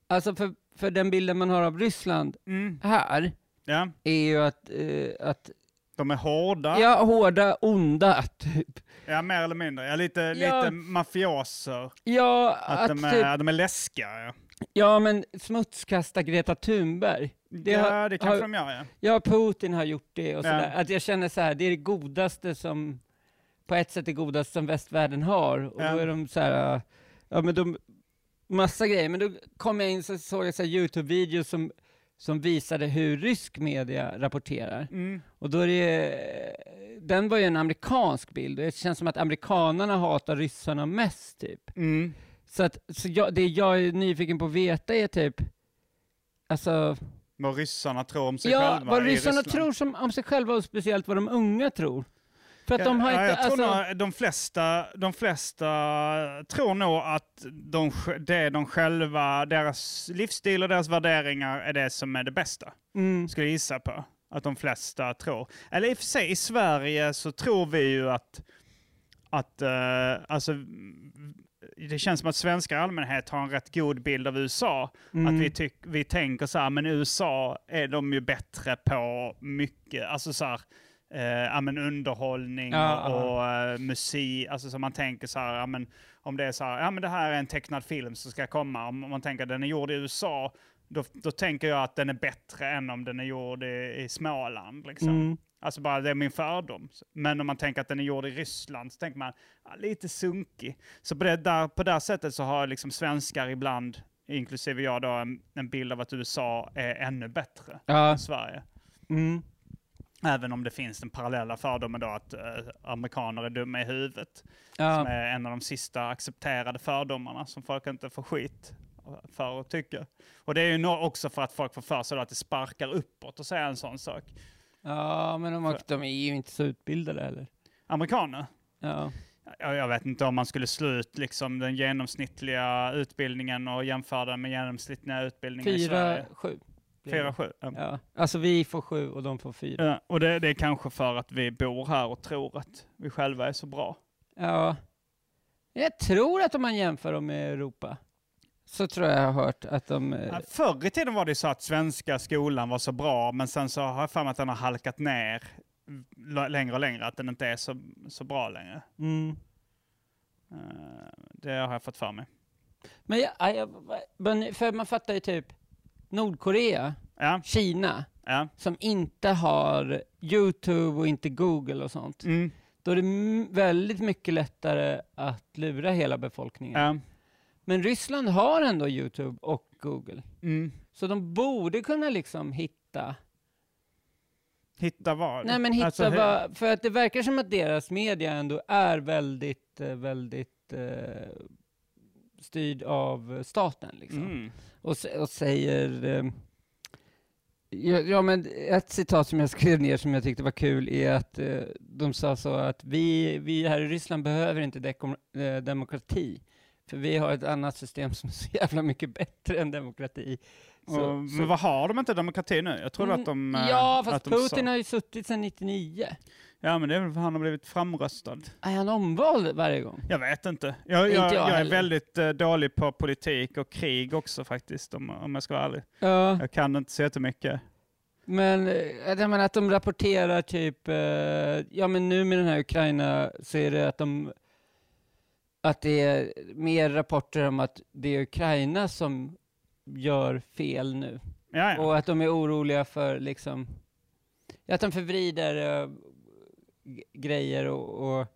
alltså för, för den bilden man har av Ryssland Mm, här, ja, är ju att, eh, att de är hårda. ja, hårda, onda, typ. Ja, mer eller mindre. Ja, lite, Ja. lite mafioser. Ja, Att, att, de, är, typ, de är läskiga. Ja, ja men smutskasta Greta Thunberg. Det ja har- det kanske har- de gör. Ja. Ja, Putin har gjort det och Ja. sådär. Att jag känner så här, det är det godaste som, på ett sätt det godaste som västvärlden har. Och Ja. då är de så här, ja men de, massa grejer. Men då kom jag in så såg jag så här YouTube-videos som, som visade hur rysk media rapporterar. Mm. Och då är det, den var ju en amerikansk bild och det känns som att amerikanarna hatar ryssarna mest typ. Mm. Så, att, så jag, det jag är nyfiken på att veta är typ, alltså, Vad ryssarna tror om sig ja, själva vad i ryssarna Ryssland. tror som, om sig själva och speciellt vad de unga tror. För att Ja, de har ja, inte, jag tror alltså, nog, de, flesta, de flesta tror nog att de, sj- det de själva, deras livsstil och deras värderingar är det som är det bästa. mm, Skulle jag gissa på. Att de flesta tror. Eller i och för sig, i Sverige så tror vi ju att, att eh, alltså, mm, det känns som att svenskar i allmänhet har en rätt god bild av USA. Mm. Att vi, tyck, vi tänker så här, men i USA är de ju bättre på mycket, alltså så här, eh, ja, men underhållning Ja, och, och eh, musik. Alltså så man tänker så här, ja, men om det är så här, ja men det här är en tecknad film som ska komma. Om om man tänker att den är gjord i USA, då, då tänker jag att den är bättre än om den är gjord i, i Småland. Liksom. mm, Alltså bara det är min fördom. Men om man tänker att den är gjord i Ryssland så tänker man, ja, lite sunkig. Så på det, där, på det här sättet så har liksom svenskar ibland, inklusive jag då, en, en bild av att USA är ännu bättre ja, än Sverige. mm, Även om det finns den parallella fördomen då att eh, amerikaner är dumma i huvudet. Som ja, är en av de sista accepterade fördomarna som folk inte får skit för och tycker. Och det är ju nå- också för att folk får för sig då att det sparkar uppåt och säga en sån sak. ja, men de, har- de är ju inte så utbildade heller. Amerikaner, Ja, Ja, Jag vet inte om man skulle slå ut liksom den genomsnittliga utbildningen och jämföra den med genomsnittliga utbildningen i Sverige. fyra, sju. blir det. Fyra, sju. Ja. Ja, alltså vi får sju och de får fyra. Ja, och det, det är kanske för att vi bor här och tror att vi själva är så bra. Ja. Jag tror att om man jämför dem med Europa så tror jag jag har hört att de... eh, Ja, Förr i tiden var det ju så att svenska skolan var så bra, men sen så har jag för mig att den har halkat ner l- längre och längre, att den inte är så, så bra längre. Mm. Eh, Det har jag fått för mig. Men jag, ja, jag, men för man fattar ju typ Nordkorea, Ja, Kina, ja. som inte har YouTube och inte Google och sånt. Mm, Då är det m- väldigt mycket lättare att lura hela befolkningen. ja. Men Ryssland har ändå YouTube och Google. Mm. Så de borde kunna liksom hitta Hitta vad? Nej men hitta Alltså, hur- vad, för att det verkar som att deras media ändå är väldigt, eh, väldigt eh, styrd av staten liksom. Mm. Och, sä- och säger, eh, ja, ja men ett citat som jag skrev ner som jag tyckte var kul är att eh, de sa så att vi, vi här i Ryssland behöver inte deko- eh, demokrati. För vi har ett annat system som är så jävla mycket bättre än demokrati. Så- och, så- Men vad har de inte demokrati nu? Jag trodde att de... eh, Mm. ja, att fast de Putin sa- har ju suttit sedan 99. Ja, men det är väl för han har blivit framröstad. Är han omvald varje gång? Jag vet inte. Jag, Inte jag, jag jag, är heller. väldigt eh, dålig på politik och krig också faktiskt, om, om jag ska vara ärlig. Ja, Jag kan inte så jättemycket. men eh, jag menar att de rapporterar typ, eh, ja men nu med den här Ukraina så är det att de, att det är mer rapporter om att det är Ukraina som gör fel nu. Ja, ja. Och att de är oroliga för liksom, att de förvrider eh, g- grejer och, och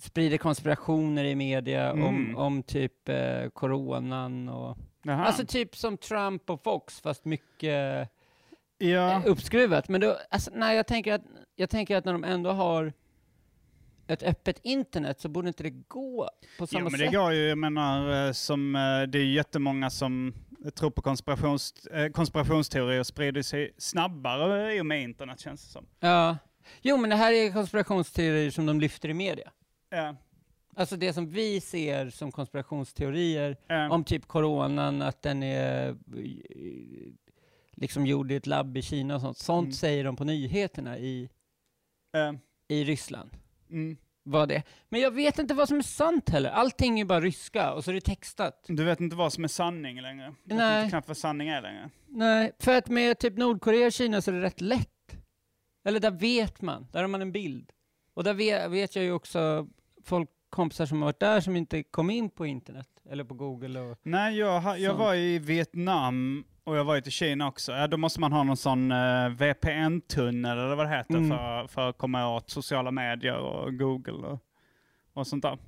sprider konspirationer i media Mm. om, om typ eh, coronan och, Jaha. alltså typ som Trump och Fox fast mycket ja. eh, uppskruvat. Men då, alltså, nej, jag, tänker att, jag tänker att när de ändå har ett öppet internet så borde inte det gå på samma Jo, men det sätt. går ju, jag menar, eh, som, eh, det är ju jättemånga som tror på konspirations, eh, konspirationsteorier och sprider sig snabbare i och med internet känns det som. Ja. Jo, men det här är konspirationsteorier som de lyfter i media. Ja, Alltså det som vi ser som konspirationsteorier ja. om typ coronan, att den är eh, liksom gjord i ett labb i Kina och sånt. Sånt Mm. säger de på nyheterna i, ja, i Ryssland. mm. Vad det. Men jag vet inte vad som är sant heller. Allting är bara ryska och så är det textat. Du vet inte vad som är sanning längre. Du Nej. vet inte knappt vad sanning är längre. Nej, för att med typ Nordkorea och Kina så är det rätt lätt. Eller där vet man, där har man en bild. Och där vet, vet jag ju också folk, kompisar som har varit där som inte kom in på internet eller på Google. Och, Nej, jag, ha- jag Sant. var i Vietnam och jag var i Kina också. Ja, då måste man ha någon sån eh, VPN-tunnel eller vad det heter Mm. för, för att komma åt sociala medier och Google och, och sånt där.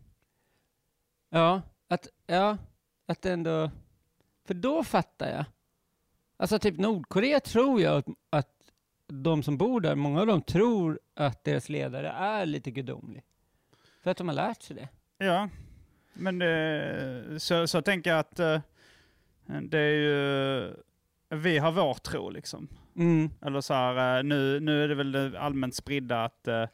Ja, att, ja, att det ändå... För då fattar jag. Alltså typ Nordkorea tror jag att, att de som bor där, många av dem tror att deras ledare är lite gudomlig. För att de har lärt sig det. Ja, men det, så, så tänker jag att eh, det är ju, vi har vår tro liksom. Mm. Eller så här, eh, nu, nu är det väl det allmänt spridda att, eh, eh,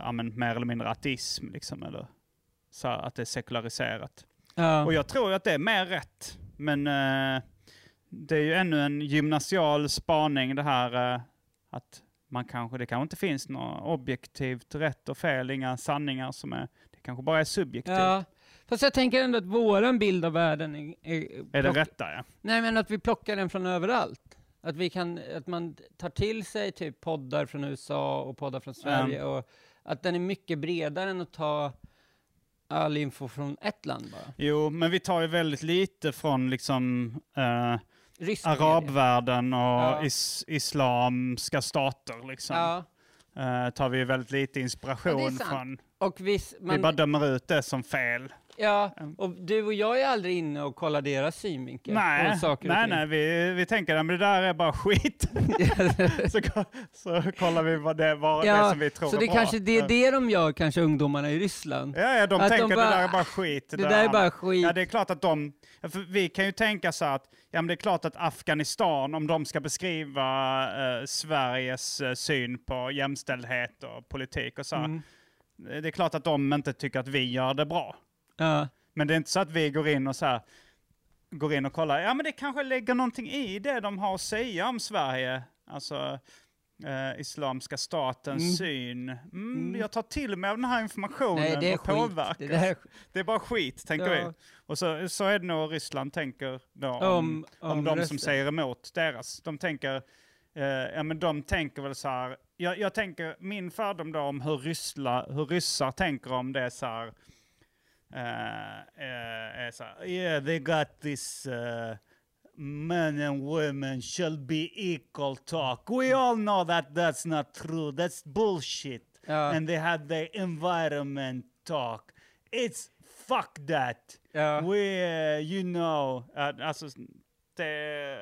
ja, men mer eller mindre ateism liksom, eller så här, att det är sekulariserat. Ja. Och jag tror ju att det är mer rätt, men eh, det är ju ännu en gymnasial spaning det här eh, att man kanske, det kanske inte finns något objektivt rätt och fel, inga sanningar som är, det kanske bara är subjektivt. ja. Fast jag tänker ändå att våran bild av världen är... Är det plock- rätta ja. Nej men att vi plockar den från överallt. Att, vi kan, att man tar till sig typ poddar från USA och poddar från Sverige. Och att den är mycket bredare än att ta all info från ett land bara. Jo, men vi tar ju väldigt lite från liksom eh, Rysk media. arabvärlden och Ja. is islamska stater liksom. Ja. Eh, tar vi ju väldigt lite inspiration Ja, det är sant. från. Och visst, Vi bara Mm. man, dömer ut det som fel. ja, och du och jag är aldrig inne och kollar deras synvinkel. nej, på saker och nej, ting. nej, vi, vi tänker att det där är bara skit. så, ko- så kollar vi vad det var det Ja, som vi tror så är det bra. kanske det är det de gör, kanske ungdomarna i Ryssland. Ja, ja de Att de tänker bara, det där är bara skit. Det där är bara skit. Ja, det är klart att de... ja, För vi kan ju tänka så att ja, men det är klart att Afghanistan, om de ska beskriva eh, Sveriges eh, syn på jämställdhet och politik och så, här, Mm. det är klart att de inte tycker att vi gör det bra. Ja. Men det är inte så att vi går in och så här, går in och kollar, ja men det kanske ligger någonting i det de har att säga om Sverige. Alltså eh, Islamiska statens Mm. syn. Mm, Mm. Jag tar till mig av den här informationen Nej, det är och påverkas. skit. Det där är Det är bara skit, tänker Ja. vi. Och så, så är det nog Ryssland tänker då om, om, Om- om de som resten. säger emot deras. De tänker, eh, ja men de tänker väl så här, jag, jag tänker, min fördom då om hur, ryssla, hur ryssar tänker om det är så här, eh, eh, är så här yeah they got this eh, men and women shall be equal talk. We all know that that's not true, that's bullshit. Ja. And they had the environment talk. It's fuck that. Ja. We, eh, you know. Uh, alltså, det,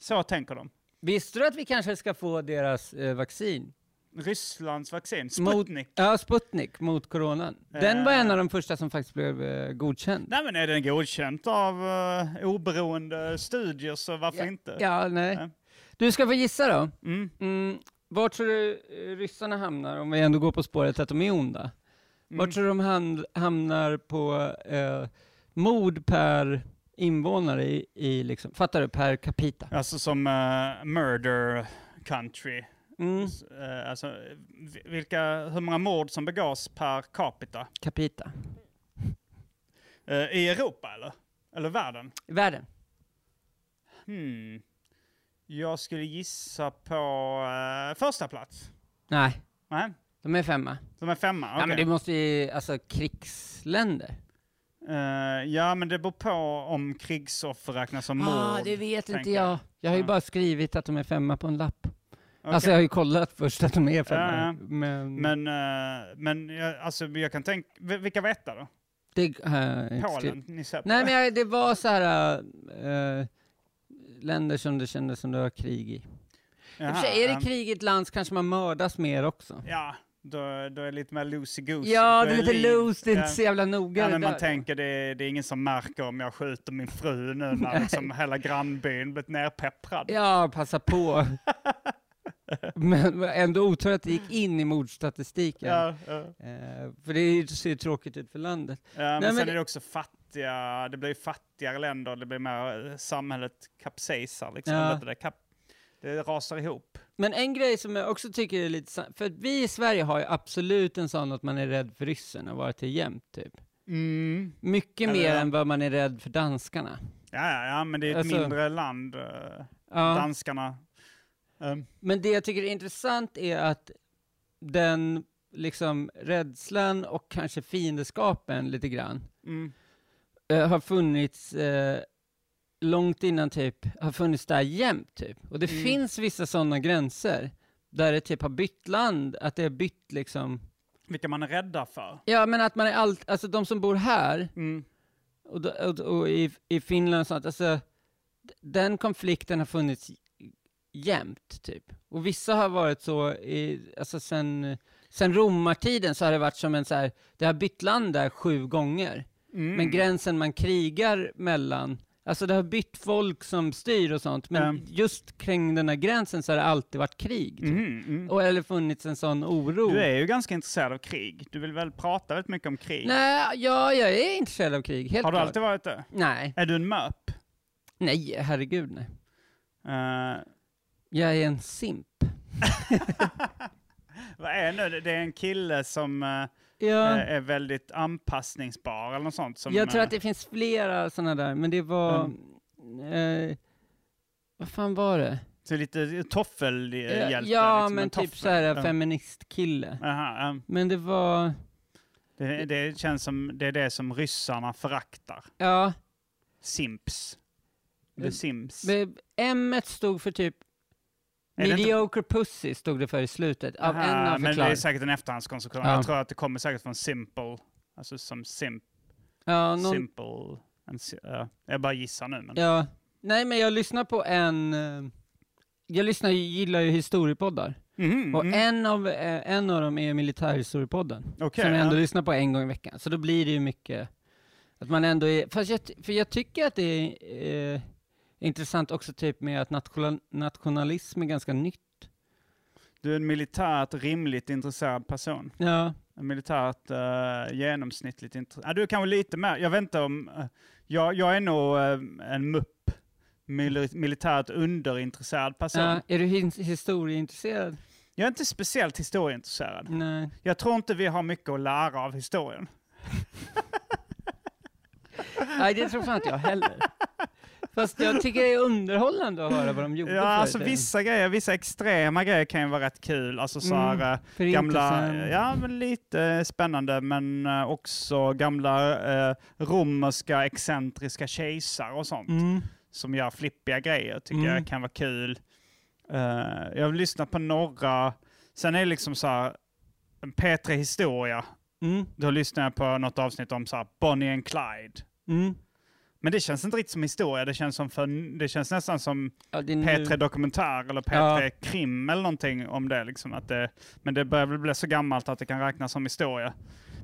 så tänker de. Visste du att vi kanske ska få deras eh, vaccin? Rysslands vaccin, Mot- Sputnik. Eh. Ja, Sputnik mot coronan. Den var en av de första som faktiskt blev eh, godkänd. Nej men är den godkänt av eh, oberoende studier så varför Ja, inte? Ja, Nej. nej. Du ska få gissa då. Mm. Mm, vart tror du eh, ryssarna hamnar, om vi ändå går på spåret att de är onda? Mm. Vart tror du de hand- hamnar på eh, mord per invånare i, i liksom, fattar du, per capita. Alltså som eh, murder country. Mm, S- eh, alltså, vi- vilka, hur många mord som begås per capita? capita. Eh, I Europa eller? Eller världen? I världen. Hmm. Jag skulle gissa på eh, första plats. Nej, Nej, de är femma. de är femma. Ja, men okej. det måste ju, alltså krigsländer. Eh, ja, men det beror på om krigsoffer räknas som mord. ah, det vet inte tänker jag. Jag har ju Ja. bara skrivit att de är femma på en lapp. Okej. Alltså jag har ju kollat först att de är femma. Ja, ja. Men, Men, eh, men jag, alltså, jag kan tänka, vi- vilka var etta då? det har jag inte skrivit. Polen? Ni ser på typ. Nej det. men jag, det var så här äh, länder som det kändes som det var krig i. I och för Jaha, sig, är ehm, det krig i ett land så kanske man mördas mer också. Ja, då, då är det lite mer loosey-goosey. Ja, Då det är lite liv. loose, det är inte Ja. så jävla noga. Ja, det men man där. tänker det är, det är ingen som märker om jag skjuter min fru nu när liksom hela grannbyn blivit nerpepprad. Ja, passa på. men ändå otur att det gick in i mordstatistiken. Ja, ja. Eh, för det är ju- ser ju tråkigt ut för landet. Ja, men men sen det- är det också fattiga, det blir ju fattigare länder, det blir mer eh, samhället kapsejsar liksom. Ja. vet du Det, kap, det rasar ihop. Men en grej som jag också tycker är lite... sa- För att vi i Sverige har ju absolut en sån att man är rädd för ryssen och varit det jämt, typ. Mm. Mycket Eller mer ja. än vad man är rädd för danskarna. Ja, ja, ja, men det är ett Alltså- mindre land, eh, Ja. danskarna. Ehm, Men det jag tycker är intressant är att den liksom rädslan och kanske fiendeskapen lite grann mm. eh, har funnits eh, långt innan typ, har funnits där jämt typ. Och det Mm. finns vissa sådana gränser där det typ har bytt land, att det har bytt liksom, Vilka man är rädda för. ja men att man är allt, alltså de som bor här Mm. och, då- och, och i, i Finland och sånt, alltså d- den konflikten har funnits j- jämt typ. Och vissa har varit så, i, alltså sen, sen romartiden så har det varit som en så här, det har bytt land där sju gånger. Mm. Men gränsen man krigar mellan, alltså det har bytt folk som styr och sånt, men Mm. just kring den här gränsen så har det alltid varit krig. Typ. Mhm, mm. Och eller funnits en sån oro. Du är ju ganska intresserad av krig. Du vill väl prata väldigt mycket om krig? Nej, ja, jag är intresserad av krig, helt Har du klart. alltid varit det? Nej, Är du en möp? nej, herregud nej. Eh, Jag är en simp. vad är det nu? Det är en kille som eh, Ja, är väldigt anpassningsbar eller något sånt. Som, jag tror eh, att det finns flera såna där, men det var... Eh, vad fan var det? så lite toffelhjälte. Ja, liksom, men en typ toffel. så här Ja. feministkille. Aha, ja. Men det var... det, det känns som det är det som ryssarna föraktar. Ja, Simps. The Eh, Sims. M stod för typ Är det inte- Mediocre pussy stod det för i slutet, av en Aha, av men det är förklaringarna. säkert en efterhandskonstruktion. Ja. Jag tror att det kommer säkert från simple. Alltså som simp, Ja, någon, simple. En, si- ja. jag bara gissar nu. Men, ja. Nej, men jag lyssnar på en... eh, Jag lyssnar, gillar ju historiepoddar. Mhm, Och mm. en av, eh, en av dem är militärhistoriepodden. Okej, som jag ja. ändå lyssnar på en gång i veckan. Så då blir det ju mycket att man ändå är... Fast jag, ty- för jag tycker att det är eh, intressant också typ med att national, nationalism är ganska nytt. Du är en militärt rimligt intresserad person. Ja, En militärt eh, genomsnittligt intresserad. du är kanske lite mer, jag vet inte om, eh, jag, jag är nog eh, en mupp. Mil- militärt underintresserad person. ja. Är du hin- historieintresserad? Jag är inte speciellt historieintresserad. Nej. Jag tror inte vi har mycket att lära av historien. Nej, det tror fan inte jag heller. Fast jag tycker det är underhållande att höra vad de gjorde Ja, förr i alltså tiden. vissa grejer, vissa extrema grejer kan ju vara rätt kul. Alltså så här, Mm. eh, gamla, Förintelsen. ja men lite spännande, men eh, också gamla eh, romerska excentriska kejsare och sånt. Mm. som gör flippiga grejer tycker Mm. jag kan vara kul. Eh, jag har lyssnat på några, sen är det liksom så här, en P3 Historia, Mm. då lyssnar jag på något avsnitt om så här Bonnie and Clyde. Mm. Men det känns inte riktigt som historia, det känns, som för, det känns nästan som Ja, det är nu. P3 Dokumentär eller P3 Krim eller någonting om det. Liksom, att det. Men det börjar väl bli så gammalt att det kan räknas som historia.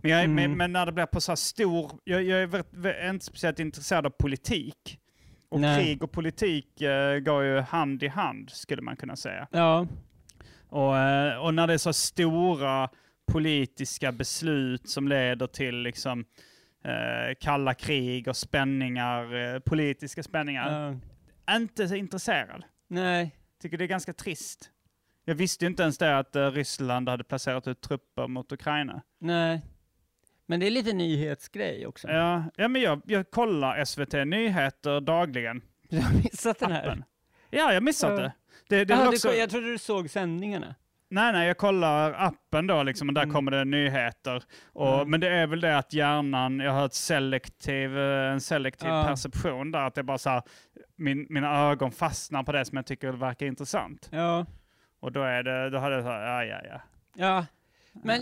Men, jag, är- Mm. men, men när det blir på så här stor, jag, jag är väldigt, vä- inte speciellt intresserad av politik. Och Nej. krig och politik eh, går ju hand i hand skulle man kunna säga. Ja. Och, eh, och när det är så stora politiska beslut som leder till liksom, eh, kalla krig och spänningar, eh, politiska spänningar. Ja. Inte så intresserad. Nej. Tycker det är ganska trist. Jag visste ju inte ens det att eh, Ryssland hade placerat ut trupper mot Ukraina. Nej. Men det är lite nyhetsgrej också. Ja, ja men jag, jag kollar SVT Nyheter dagligen. Du har missat den här. Appen. Ja, jag missade Ja. det. det, det är Aha, väl du, också... jag trodde du såg sändningarna. Nej, nej, jag kollar appen då liksom, och där Mm. kommer det nyheter. Och, Mm. Men det är väl det att hjärnan, jag har ett selektiv, eh, en selektiv Ja. perception där, att det är bara så här, min, mina ögon fastnar på det som jag tycker verkar intressant. Ja. Och då är det, då har det så här, ja, ja, ja. Ja. Men,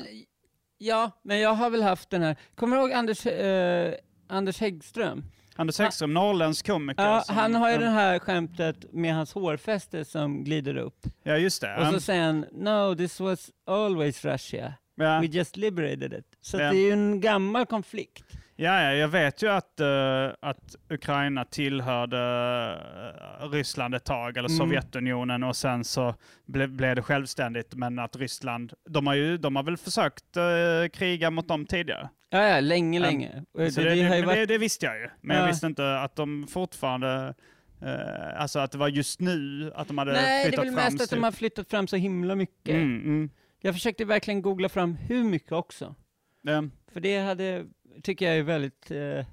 ja, men jag har väl haft den här. Kommer du ihåg Anders, eh, Anders Häggström? Anders Högström, norrländsk komiker. Ja, som- han har ju som- det här skämtet med hans hårfäste som glider upp. Ja, just det. Och Um, så säger han “No, this was always Russia. ja. We just liberated it”. Så Ja. att det är ju en gammal konflikt. Ja, ja, jag vet ju att, eh, att Ukraina tillhörde eh, Ryssland ett tag, eller Mm. Sovjetunionen, och sen så ble, blev det självständigt. Men att Ryssland, de har ju de har väl försökt eh, kriga mot dem tidigare. Ja, ja, länge, Ja. länge. Och Så det, det, det har det, ju men varit... det, det visste jag ju, men Ja. jag visste inte att de fortfarande, eh, alltså att det var just nu att de hade Nej, det är flyttat väl fram mest att de sitt- har flyttat fram så himla mycket. Mm, mm. Jag försökte verkligen googla fram hur mycket också. Ja. För det hade, tycker jag är väldigt... Eh,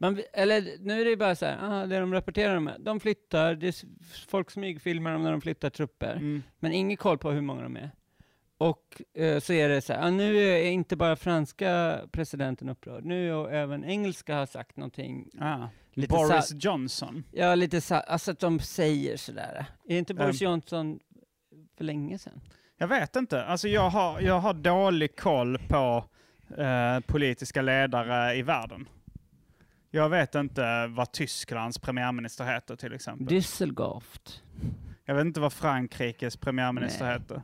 man, vi- eller nu är det ju bara så här, ah, det de rapporterar om, är- de flyttar, det är s- folk smygfilmar dem när de flyttar trupper, Mm. men ingen koll på hur många de är. Och eh, så är det så här, ah, nu är inte bara franska presidenten upprörd, nu har även engelska har sagt någonting. Ah. Lite Boris sa- Johnson. Ja, lite så, alltså att de säger sådär. Är inte Boris Johnson för länge sedan? Jag vet inte. Alltså jag har, jag har dålig koll på eh, politiska ledare i världen. Jag vet inte vad Tysklands premiärminister heter till exempel. Düsselgaft. Jag vet inte vad Frankrikes premiärminister Nej. heter.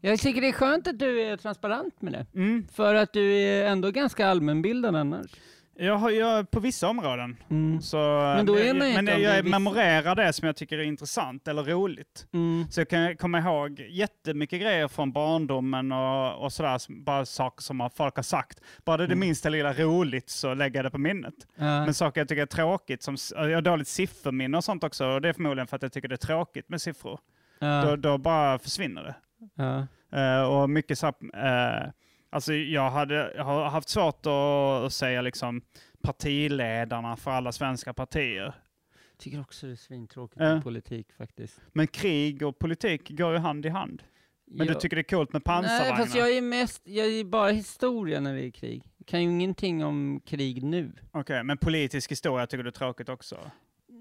Jag tycker det är skönt att du är transparent med det. Mm. För att du är ändå ganska allmänbildad annars. Jag har, jag, på vissa områden. Så, eh, Men då är man ju men inte jag, om det är jag vissa- memorerar det som jag tycker är intressant eller roligt. Mm. Så jag kan komma ihåg jättemycket grejer från barndomen och, och sådär, som- bara saker som har- folk har sagt. Bara det, är det Mm. minsta lilla roligt så lägger jag det på minnet. Ja. Men saker jag tycker är tråkigt, som, jag har dåligt sifferminne och sånt också, och det är förmodligen för att jag tycker det är tråkigt med siffror. Ja. Då, då bara försvinner det. Ja. Eh, och mycket så här, eh, alltså jag, hade, jag har haft svårt att, att säga liksom partiledarna för alla svenska partier. Tycker också det är svintråkigt Ja. med politik faktiskt. Men krig och politik går ju hand i hand. Men Ja. du tycker det är coolt med Nej, pansarvagnar? fast jag är mest, jag är bara historia när det är krig. Jag kan ju ingenting om krig nu. Okej, men politisk historia tycker du är tråkigt också?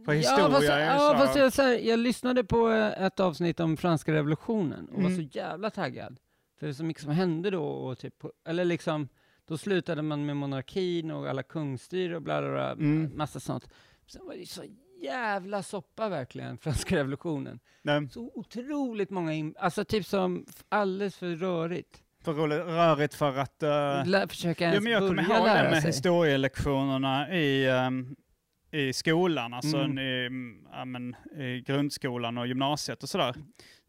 För ja, historia fast, är ju ja, så... fast jag, så här, jag lyssnade på eh, ett avsnitt om franska revolutionen och var Mm. så jävla taggad. För det var så mycket som hände då. Och typ, eller liksom, då slutade man med monarkin och alla kungsstyre och bla bla bla, Mm. massa sånt. Sen var det ju så jävla soppa verkligen, franska revolutionen. Nej, Så otroligt många, in, alltså typ som f- alldeles för rörigt. för roligt, rörigt för att... eh, Lä, försöka Ja, ens men jag kommer börja ihåg det lära med sig. historielektionerna i, ehm, i skolan, alltså Mm. i, mm, ja, men, i grundskolan och gymnasiet och sådär.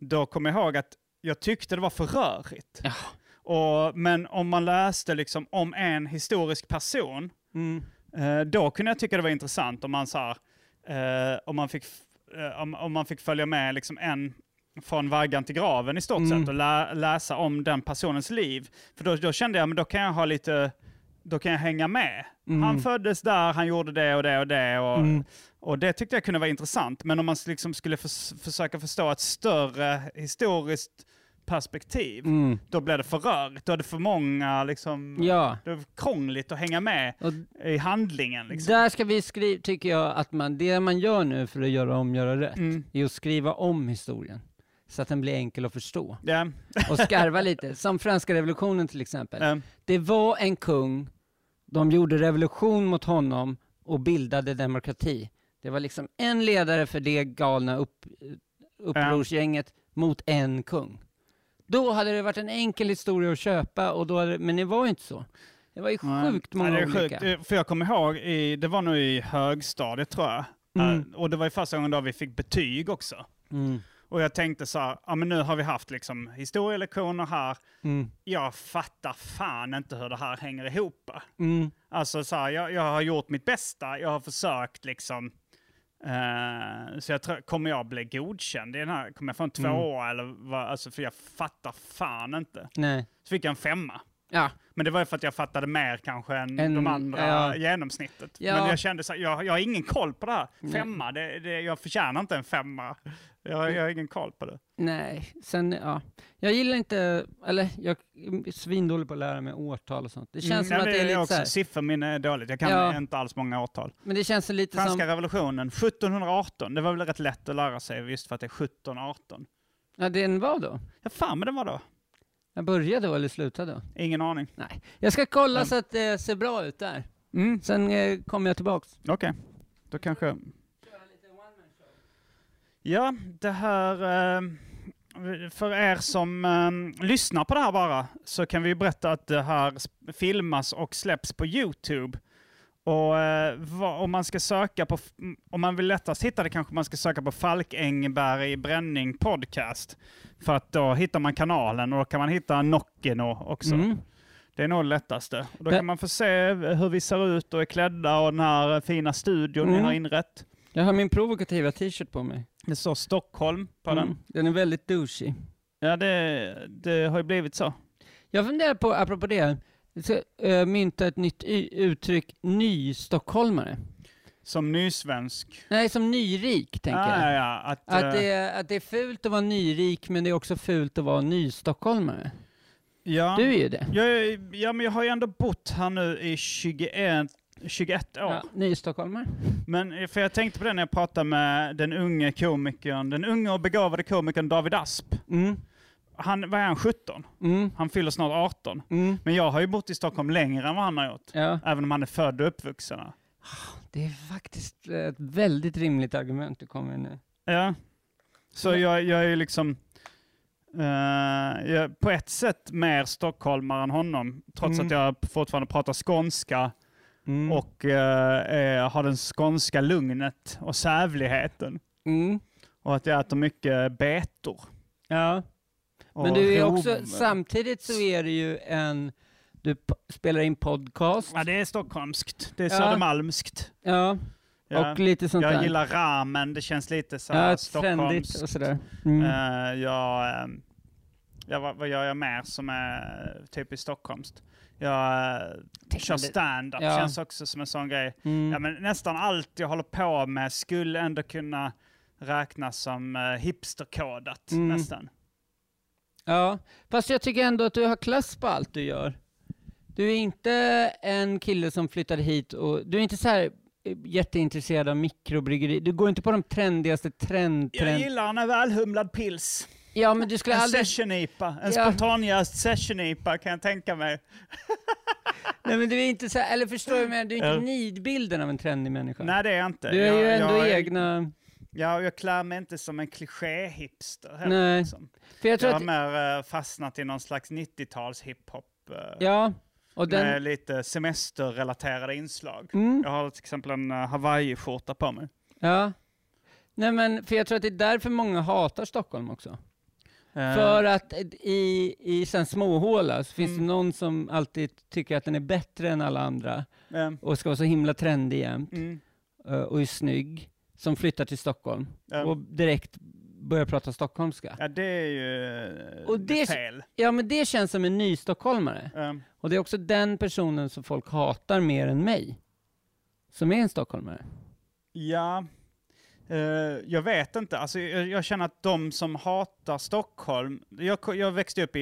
Då kommer jag ihåg att jag tyckte det var för rörigt. Ja. Och, men om man läste liksom om en historisk person, Mm. eh, då kunde jag tycka det var intressant om man, så här, eh, om man, fick, f- eh, om, om man fick följa med liksom en från vaggan till graven i stort Mm. sett och lä, läsa om den personens liv. För då, då kände jag men då kan jag ha lite, då kan jag hänga med. Mm. Han föddes där, han gjorde det och det och det. Och, Mm. och det tyckte jag kunde vara intressant. Men om man liksom skulle förs- försöka förstå ett större historiskt perspektiv, Mm. då blev det för rörigt. Då är det för många, liksom, Ja. det är krångligt att hänga med Och i handlingen. Liksom. Där ska vi skriva, tycker jag, att man, det man gör nu för att göra om, göra rätt, Mm. är att skriva om historien. Så att den blir enkel att förstå. Ja, Och skarva lite. Som franska revolutionen till exempel. ehm, Det var en kung, de gjorde revolution mot honom och bildade demokrati. Det var liksom en ledare för det galna upp, upprorsgänget mot en kung. Då hade det varit en enkel historia att köpa, och då hade, men det var ju inte så. Det var ju nej. sjukt många Nej, det är olika. sjukt. Eh, För jag kommer ihåg, i, det var nog i högstadiet tror jag. Mm. Eh, Och det var ju första gången då vi fick betyg också. Mm. Och jag tänkte så här, ja men nu har vi haft liksom historielektioner här. Mm. Jag fattar fan inte hur det här hänger ihop. Mm. Alltså så här, jag, jag har gjort mitt bästa, jag har försökt liksom. eh, så jag tror, kommer jag bli godkänd i den här? Kommer jag få en tvåa Mm. eller vad? Alltså för jag fattar fan inte. Nej. Så fick jag en femma. Ja. Men det var ju för att jag fattade mer kanske än En- de andra ja. genomsnittet. Ja. Men jag kände så här, jag, jag har ingen koll på det här. Femma, det, det, jag förtjänar inte en femma. Mm. Jag, jag har ingen koll på det. Nej, sen ja. Jag gillar inte, eller jag är svindålig på att lära mig årtal och sånt. Det känns som Mm. Ja, att det är jag lite så också. här, Sifferminne är dåligt, jag kan Ja. inte alls många årtal. men det känns lite Franska som, revolutionen 1718, det var väl rätt lätt att lära sig just för att det är 1718. ja den var då. Ja, fan men det var då. Jag började då eller slutade då? Ingen aning. Nej. Jag ska kolla Men- så att det ser bra ut där. Mm. Sen eh, kommer jag tillbaks. Okej, då kanske... Ja, det här... eh, För er som eh, lyssnar på det här bara så kan vi berätta att det här sp- filmas och släpps på Youtube. Och eh, vad, om man ska söka på, f- m- om man vill lättast hitta det kanske man ska söka på Falk Engberg Bränning Podcast. För att då hittar man kanalen och då kan man hitta Nockeno också. Mm. Det är nog det lättaste. Och då Men- kan man få se hur vi ser ut och är klädda och den här fina studion ni Mm. har inrett. Jag har min provokativa t-shirt på mig. Det står Stockholm på den. Mm. Den är väldigt douchey. Ja, det, det har ju blivit så. Jag funderar på, apropå det, jag ska eh, mynta ett nytt y- uttryck, nystockholmare. Som nysvensk. Nej, som nyrik tänker jag. ja, ja, att, Att eh, det, är, att det är fult att vara nyrik, men det är också fult att vara nystockholmare. ja. Du är ju det. Jag, ja, men jag har ju ändå bott här nu i 21, 21 år. Ja, nystockholmare. Men eh, för jag tänkte på det när jag pratade med den unge komikern, den unge och begåvade komikern David Asp. Mm, Han, vad är han, 17? mm, Han fyller snart 18. mm. Men jag har ju bott i Stockholm längre än vad han har gjort. Ja, Även om han är född och uppvuxen här. det är faktiskt eh, ett väldigt rimligt argument du kommer med nu. Ja. Så jag, jag är ju liksom eh, jag är på ett sätt mer stockholmare än honom. Trots Mm. att jag fortfarande pratar skånska Mm. och eh, eh, har den skånska lugnet och sävligheten. Mm. Och att jag äter mycket betor. Ja. och Men du är rov. också, samtidigt så är det ju en, du p- spelar in podcast. Ja, det är stockholmskt. Det är Ja. södermalmskt. Ja, Ja. och lite sånt där. jag gillar ramen. Det känns lite så här ja, trendigt stockholmskt. och sådär. Mm. Eh, jag, ehm, jag, vad, vad gör jag mer som är typiskt stockholmskt? Jag uh, kör stand-up, Ja. känns också som en sån grej. Mm. Ja, men nästan allt jag håller på med skulle ändå kunna räknas som uh, hipsterkodat Mm. nästan. Ja, fast jag tycker ändå att du har klass på allt du gör. Du är inte en kille som flyttade hit och du är inte så här eh, jätteintresserad av mikrobryggeri. Du går inte på de trendigaste trend, Jag trend. gillar en välhumlad pils. Ja, men du skulle En aldrig... session-IPA. En Ja. spontanjäst session-IPA kan jag tänka mig. Nej, men du är inte så här... Eller förstår du vad jag menar? Du är Ja. inte nidbilden av en trendig människa. Nej, det är jag inte. du är ju jag, ändå jag, egna... Jag, jag klär mig inte som en kliché-hipster heller. Nej. liksom. För jag Jag, tror har att... mer eh, fastnat i någon slags 90-tals hiphop. eh, Ja, och Med den... lite semesterrelaterade inslag. Mm, Jag har till exempel en eh, Hawaii-skjorta på mig. ja. Nej, men för jag tror att det är därför många hatar Stockholm också. Eh, För att i, i sen småhåla så finns Mm. det någon som alltid tycker att den är bättre än alla andra eh, och ska vara så himla trendig jämt mm, eh, och är snygg, som flyttar till Stockholm eh, och direkt börjar prata stockholmska. ja, det är ju eh, Och det- fel. Ja, men det känns som en ny stockholmare. Eh, Och det är också den personen som folk hatar mer än mig, som är en stockholmare. ja, eh, jag vet inte. Alltså, jag, jag känner att de som hatar Stockholm... Jag, ko- jag växte upp i,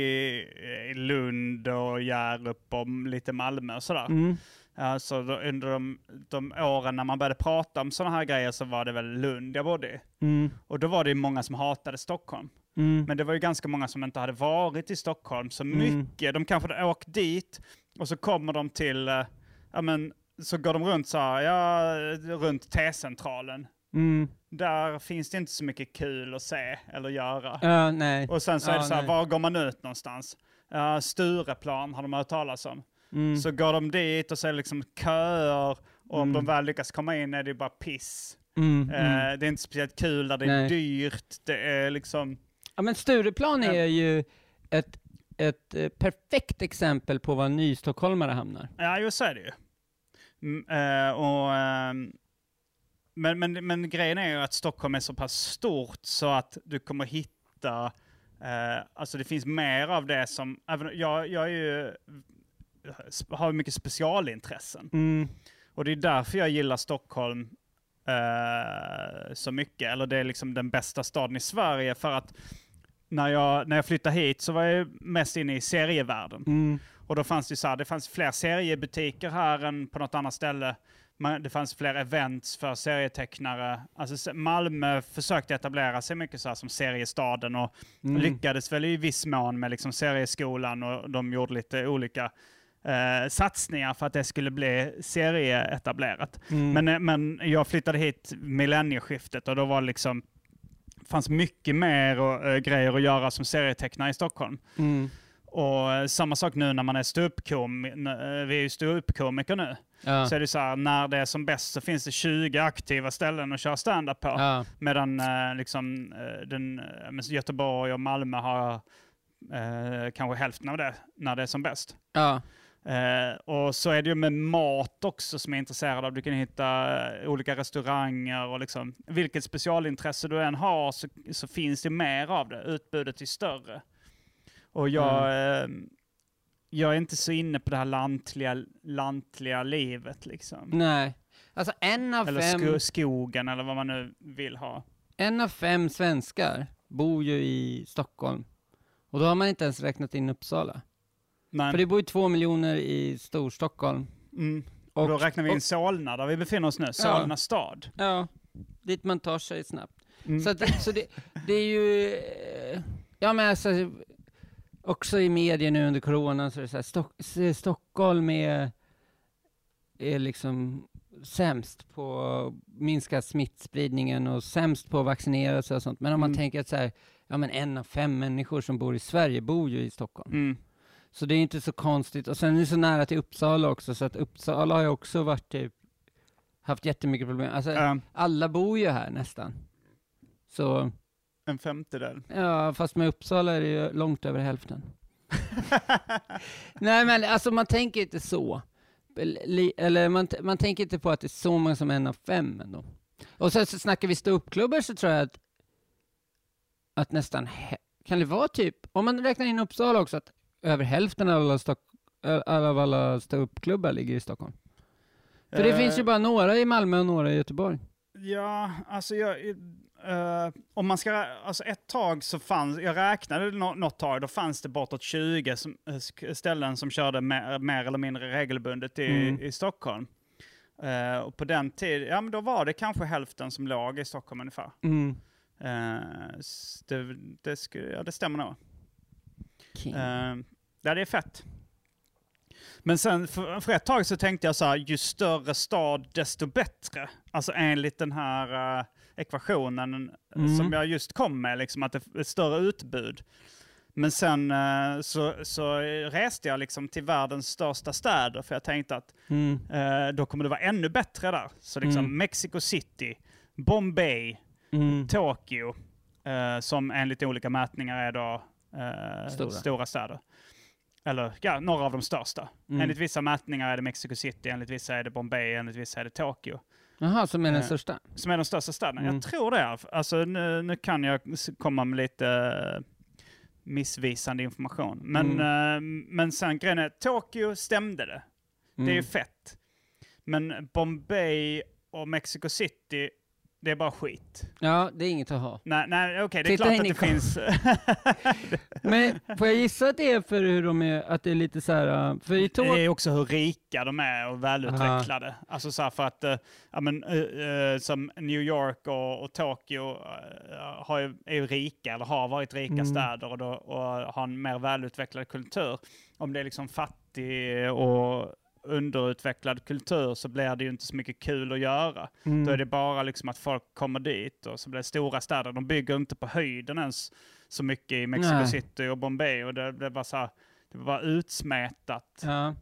i Lund och Hjärup och lite Malmö och sådär. Mm. Alltså, då, under de, de åren när man började prata om sådana här grejer så var det väl Lund jag bodde i. Mm. Och då var det ju många som hatade Stockholm. Mm. Men det var ju ganska många som inte hade varit i Stockholm så Mm. mycket. De kanske hade åkt dit och så kommer de till, eh, ja men, så går de runt så här, ja, runt T-centralen. Mm. Där finns det inte så mycket kul att se eller göra. Ja, nej. Och sen så är Ja, det så här, nej. var går man ut någonstans? Ja, Stureplan har de hört talas om. Mm. Så går de dit och så är det liksom köer. Och om Mm. de väl lyckas komma in är det bara piss. Mm, Eh, mm. Det är inte speciellt kul där det är Nej. dyrt. Det är liksom... Ja, men Stureplan är ju ett, ett eh, perfekt exempel på var nystockholmare hamnar. Ja, jo så är det ju. Mm, eh, och, ehm, men, men, men grejen är ju att Stockholm är så pass stort så att du kommer hitta, eh, alltså det finns mer av det som, även, jag, jag är ju, har mycket specialintressen. Mm. Och det är därför jag gillar Stockholm eh, så mycket. Eller det är liksom den bästa staden i Sverige. För att när jag, när jag flyttade hit så var jag mest inne i serievärlden. Mm. Och då fanns det ju så här, det fanns fler seriebutiker här än på något annat ställe. Man, det fanns fler events för serietecknare. Alltså se- Malmö försökte etablera sig mycket så här som seriestaden och lyckades väl i viss mån med liksom serieskolan och de gjorde lite olika eh, satsningar för att det skulle bli serieetablerat. Mm. Men, eh, men jag flyttade hit millennieskiftet och då var det liksom fanns mycket mer och, eh, grejer att göra som serietecknare i Stockholm. Mm. Och eh, samma sak nu när man är ståuppkom, n- eh, vi är ju ståuppkomiker nu. Ja. Så är det så här, när det är som bäst så finns det 20 aktiva ställen att köra stand-up på. Ja. Medan eh, liksom, eh, den, eh, men Göteborg och Malmö har eh, kanske hälften av det när det är som bäst. Ja. Eh, och så är det ju med mat också som jag är intresserad av. Du kan hitta eh, olika restauranger och liksom, vilket specialintresse du än har så, så finns det mer av det. Utbudet är större. Och jag, Mm. eh, jag är inte så inne på det här lantliga, lantliga livet liksom. Nej. Alltså en av, Eller sko- fem, skogen eller vad man nu vill ha. en av fem svenskar bor ju i Stockholm. Och då har man inte ens räknat in Uppsala. Men, För det bor ju två miljoner i Storstockholm. mm, och, Och, då räknar vi in och- Solna där vi befinner oss nu. Solna stad. ja, dit man tar sig snabbt. Mm. Så, att, så det, det är ju... eh, Ja, men alltså, också i medier nu under coronan så är det så här, Stock, s- Stockholm är, är liksom sämst på att minska smittspridningen och sämst på att vaccinera sig och sånt. Men om man Mm. tänker att så här, ja, men en av fem människor som bor i Sverige bor ju i Stockholm. Mm. Så det är inte så konstigt. Och sen är det så nära till Uppsala också, så att Uppsala har ju också varit typ, haft jättemycket problem. Alltså, Eh, alla bor ju här nästan. Så, en femtedel. ja, fast med Uppsala är det ju långt över hälften. Nej men alltså man tänker inte så. Eller- li- Eller man, t- man tänker inte på att det är så många som en av fem ändå. Och sen så snackar vi ståuppklubbar så tror jag att, att nästan, hä- kan det vara typ, om man räknar in Uppsala också, att över hälften av alla, stock- ö- alla, av alla ståuppklubbar ligger i Stockholm. För det Eh, finns ju bara några i Malmö och några i Göteborg. Ja, alltså jag... eh, om man ska... Alltså ett tag så fanns... Jag räknade nå- något tag, då fanns det bortåt 20 som, eh, sk- ställen som körde mer, mer eller mindre regelbundet i, Mm. i Stockholm. Eh, och på den tiden, ja men då var det kanske hälften som låg i Stockholm ungefär. Eh, s- det, det, sku, ja, det stämmer nog. King. Eh, ja, det är fett. Men sen för, för ett tag så tänkte jag så här, ju större stad desto bättre. Alltså enligt den här eh, ekvationen eh, Mm. som jag just kom med, liksom att det är ett större utbud. Men sen eh, så, så reste jag liksom till världens största städer för jag tänkte att Mm. eh, då kommer det vara ännu bättre där. Så liksom Mm. Mexico City, Bombay, Mm. Tokyo, eh, som enligt olika mätningar är då eh, Stora. stora. städer. Eller ja, några av de största. Mm. Enligt vissa mätningar är det Mexico City, enligt vissa är det Bombay, enligt vissa är det Tokyo. Jaha, som är den Eh, största? Som är de största städerna. Mm. Jag tror det. Är, alltså, nu, nu kan jag s- komma med lite eh, missvisande information. Men, Mm. eh, men sen grejen är, Tokyo stämde det. Det är ju Mm. fett. Men Bombay och Mexico City, det är bara skit. Ja, det är inget att ha. Nej, nej okej, det är Titta klart in att i det kom- finns... Men får jag gissa att det är för hur de är, att det är lite så här, uh, för i det Tokyo, är också hur rika de är och välutvecklade. Alltså så här för att, eh, ja men, eh, eh, som New York och, och Tokyo eh, har ju, är ju rika, eller har varit rika Mm. städer och, då, och har en mer välutvecklad kultur. Om det är liksom fattig och underutvecklad kultur så blir det ju inte så mycket kul att göra. mm, Då är det bara liksom att folk kommer dit och så blir det stora städer. De bygger inte på höjden ens så mycket i Mexico Nej. City och Bombay. Och det blev bara så här, det var bara utsmätat. ja,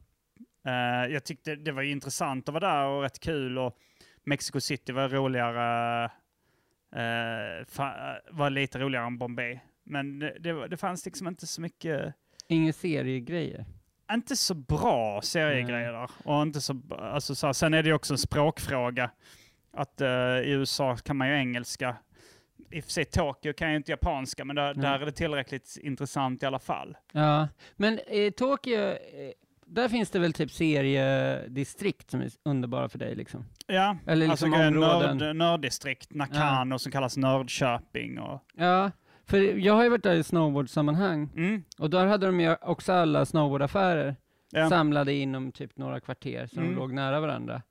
Eh, jag tyckte det var ju intressant att vara där och rätt kul. Och, Mexico City var roligare, eh, fa- var lite roligare än Bombay. Men det, det, var- det fanns liksom inte så mycket, Inga seriegrejer. inte så bra seriegrejer där. Och inte så, b- alltså, så här, sen är det ju också en språkfråga. Att eh, i USA kan man ju engelska. I och för sig Tokyo kan ju inte japanska, men där, Nej. där är det tillräckligt intressant i alla fall. Ja, men eh, Tokyo, eh, där finns det väl typ seriedistrikt som är underbara för dig liksom? Ja, Eller alltså liksom områden? nörd, nörddistrikt, Nakano som kallas Nördköping. Och, Ja, för jag har ju varit där i snowboardsammanhang mm, och där hade de ju också alla snowboardaffärer ja. samlade inom typ några kvarter så Mm. de låg nära varandra.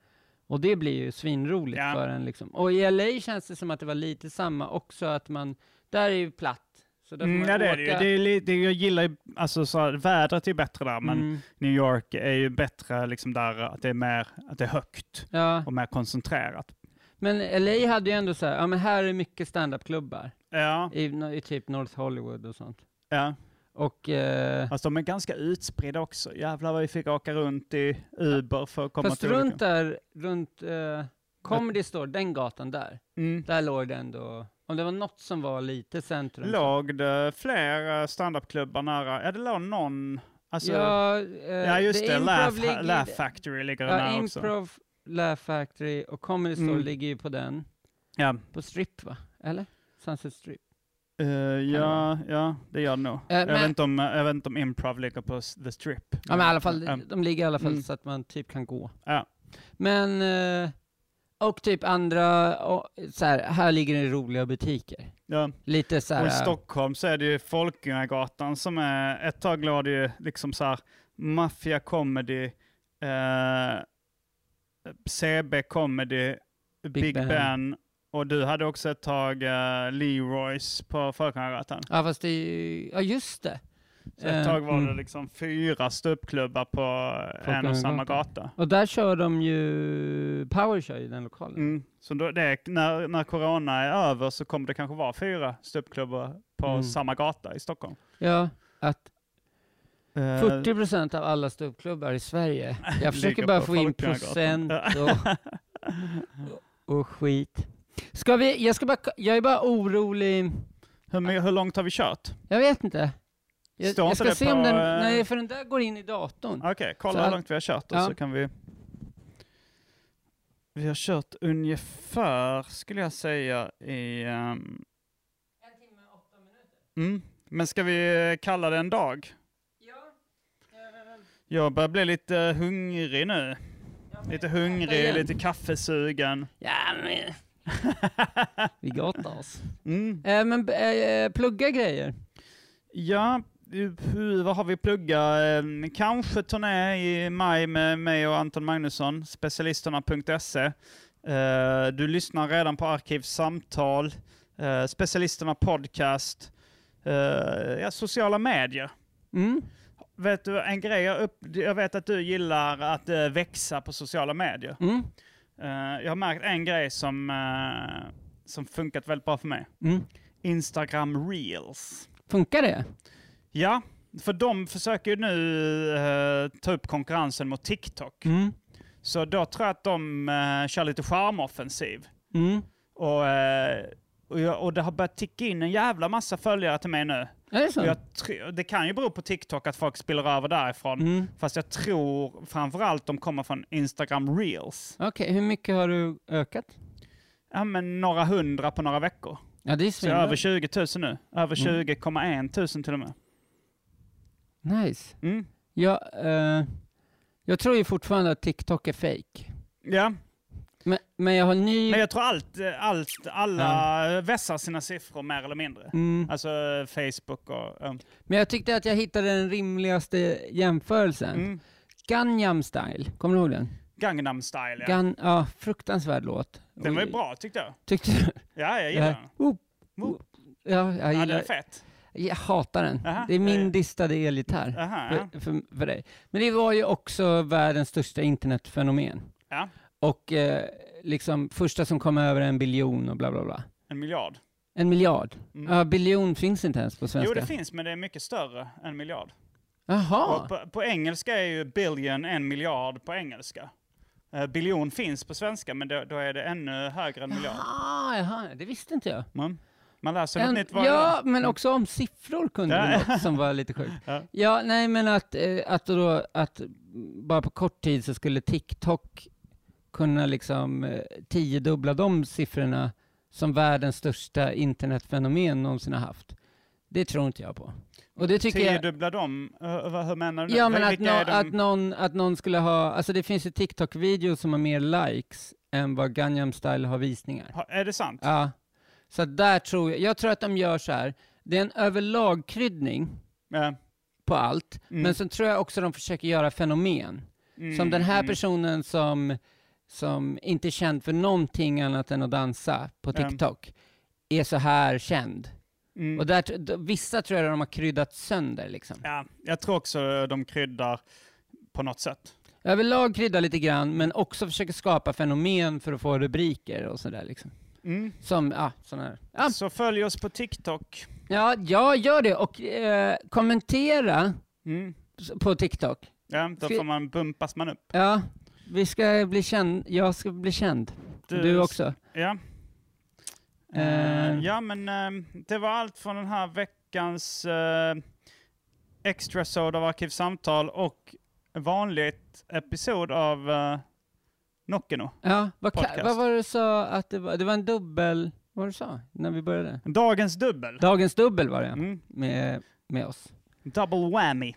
Och det blir ju svinroligt Ja. för en liksom. Och i LA känns det som att det var lite samma också, att man, där är ju platt. Så där får Mm, man ja, det åka. är det ju. Det är li- det, jag gillar ju, alltså så här, vädret är ju bättre där, men Mm, New York är ju bättre liksom där att det är mer, att det är högt ja. och mer koncentrerat. Men LA hade ju ändå så här, ja men här är mycket standupklubbar. Ja, I, i typ North Hollywood och sånt. ja. Och, eh, Alltså de är ganska utspridda också. Jävlar vad vi fick åka runt i Uber för att komma fast till runt olika- där, runt eh, Comedy Store, den gatan där, Mm. där låg det ändå, om det var något som var lite centrum. så- Låg det fler eh, standupklubbar nära? Ja, det låg någon. Alltså, ja, ja, eh, just det det. Laugh, Improv ligger- Laugh Factory ligger ja, nära också. Improv, Laugh Factory och Comedy Store Mm. ligger ju på den, Ja, på Strip va? Eller? Sunset Strip. Eh, ja, ja, det gör det nog. jag, Eh, men- vet inte om, eh, jag vet inte om Improv ligger på s- The Strip. Ja men i alla fall, Ja. de ligger i alla fall Mm. så att man typ kan gå. Ja. Men, eh, och typ andra, och, så här, här ligger det roliga butiker. Ja. Lite så Och i här, Stockholm så är det ju Folkungagatan som är, ett tag låg det ju liksom så här maffia comedy, eh, CB comedy, Big, Ben. ben. och du hade också ett tag eh, Leroys på Folkungagatan. ja fast det är ju, ja just det. Så ett Eh, tag var det mm. liksom fyra ståuppklubbar på en och samma gata. Och där kör de ju, Power kör ju den lokalen. Mm. Så då, det, när, när corona är över så kommer det kanske vara fyra ståuppklubbar på Mm. samma gata i Stockholm. Ja, att Eh, 40 procent av alla ståuppklubbar i Sverige, jag försöker Ligger bara på få in Folkungagatan. procent Eh, och, och skit. Ska vi, jag ska bara, jag är bara orolig, hur, my- hur långt har vi kört? jag vet inte. Jag, Står jag inte ska det se på, om den, eh, nej för den där går in i datorn. Okej, Så kolla hur all- långt vi har kört och Ja. så kan vi... Vi har kört ungefär, skulle jag säga, i... ehm, mm. Men ska vi eh, kalla det en dag? Jag börjar bli lite hungrig nu. Lite hungrig, igen. lite kaffesugen. Ja men, vi gottar oss. Mm. Eh, men eh, plugga grejer. Ja, hur- vad har vi plugga? Ehm, Kanske turné i maj med mig och Anton Magnusson, specialisterna.se. Eh, Du lyssnar redan på Arkivsamtal, eh, Specialisterna Podcast, eh, ja, sociala medier. Mm. Vet du, en grej jag, upp, jag vet att du gillar att eh, växa på sociala medier. Mm. Eh, Jag har märkt en grej som, eh, som funkat väldigt bra för mig. Mm. Instagram Reels. Funkar det? Ja, för de försöker ju nu eh, ta upp konkurrensen mot TikTok. Mm. Så då tror jag att de eh, kör lite charmoffensiv. Mm. Och, eh, och, jag, och det har börjat ticka in en jävla massa följare till mig nu. Är det så? Och jag tr- det kan ju bero på TikTok att folk spiller över därifrån. Mm. Fast jag tror framförallt de kommer från Instagram Reels. Okej, hur mycket har du ökat? Ja, men några hundra på några veckor. Ja, det är Så jag är över svinbra. 20 000 nu. Över Mm. 20,1 000 till och med. Nice. Mm. Jag, eh, jag tror ju fortfarande att TikTok är fake. Ja. Men, men jag har ny... Men jag tror allt, allt, alla vässar sina siffror mer eller mindre. Mm. Alltså Facebook och... Um. Men jag tyckte att jag hittade den rimligaste jämförelsen. Mm. Gangnam style, kommer du ihåg den? Gangnam style, ja. Gan, ja, fruktansvärd låt. Den var ju bra tyckte jag. Tyckte du? Ja, jag gillar Ja. den. Woop, Woop. woop. Ja, jag, Ja, gillar, den är fet. jag hatar den. Aha, det är min ja, ja. distade elgitarr. Aha, ja. för, för, för dig. Men det var ju också världens största internetfenomen. Ja. Och eh, liksom första som kom över en biljon och bla bla bla. En miljard. En miljard. Mm. Ja, biljon finns inte ens på svenska. Jo, det finns, men det är mycket större än miljard. Jaha. Och på, på engelska är ju billion en miljard på engelska. Eh, Eh, biljon finns på svenska, men då, då är det ännu högre än miljard. Jaha, jaha, det visste inte jag. Man, man lär sig något En, nytt varje ja, dag. men också om siffror kunde Ja. det något som var lite sjukt. Ja. Ja. nej, men att, eh, att, då, att bara på kort tid så skulle TikTok kunna liksom eh, tiodubbla de siffrorna som världens största internetfenomen någonsin har haft. Det tror inte jag på. Och det tycker jag, Tiodubbla dem? Eh, vad- hur menar du ja, nu? men Vil- att, Vilka nå, är de? att, någon, att någon skulle ha, alltså det finns ju TikTok-videos som har mer likes än vad Gangnam Style har visningar. Ha- Är det sant? Ja, så att där tror jag, jag tror att de gör så här, det är en överlag kryddning Eh, på allt, Mm. men sen tror jag också de försöker göra fenomen. mm, Som den här mm. personen som, som inte är känd för någonting annat än att dansa på Ja. TikTok, är så här känd. Mm. Och där, tr- d- vissa tror jag de har kryddat sönder liksom. Ja, jag tror också de kryddar på något sätt. Överlag krydda lite grann, men också försöker skapa fenomen för att få rubriker och sådär liksom. Mm. Som, ja, sådana här. Ja, Så följ oss på TikTok. ja, jag gör det och eh, kommentera Mm. s- på TikTok. Ja, då Ska- får man, bumpas man upp. Ja, vi ska bli känd. Jag ska bli känd. Du, också. Ja. Eh, Eh. ja, men eh, det var allt från den här veckans uh, extra soda av Arkivsamtal och vanligt episod av uh, Nockeno. Ja, vad, ka- Podcast. vad var det du sa att det var? Det var en dubbel... Vad var det du sa när vi började? Dagens dubbel. Dagens dubbel var det, Mm. med, med oss. Double whammy.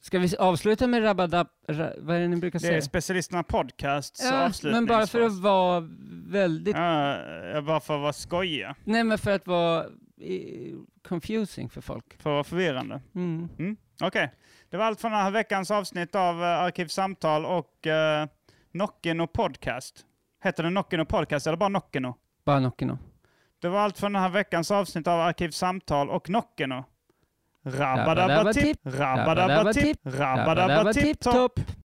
Ska vi s- avsluta med rabadab... Ra, vad är det ni brukar Det är säga? specialisterna podcast Ja, men bara för att vara väldigt... Ja, bara för att vara skojiga. Nej, men för att vara eh, confusing för folk. För att vara förvirrande. Mm. Okej, det var allt från den här veckans avsnitt av eh, Arkivsamtal och eh, Nockeno podcast. Heter det Nockeno podcast eller bara Nockeno? Bara Nockino. Det var allt från den här veckans avsnitt av Arkivsamtal och Nockeno. Rabba-dabba-tipp, Rabba-dabba-tipp, rabba-dabba-tipp, rabba-dabba-tipp-topp. rabba-dabba-tipp-topp.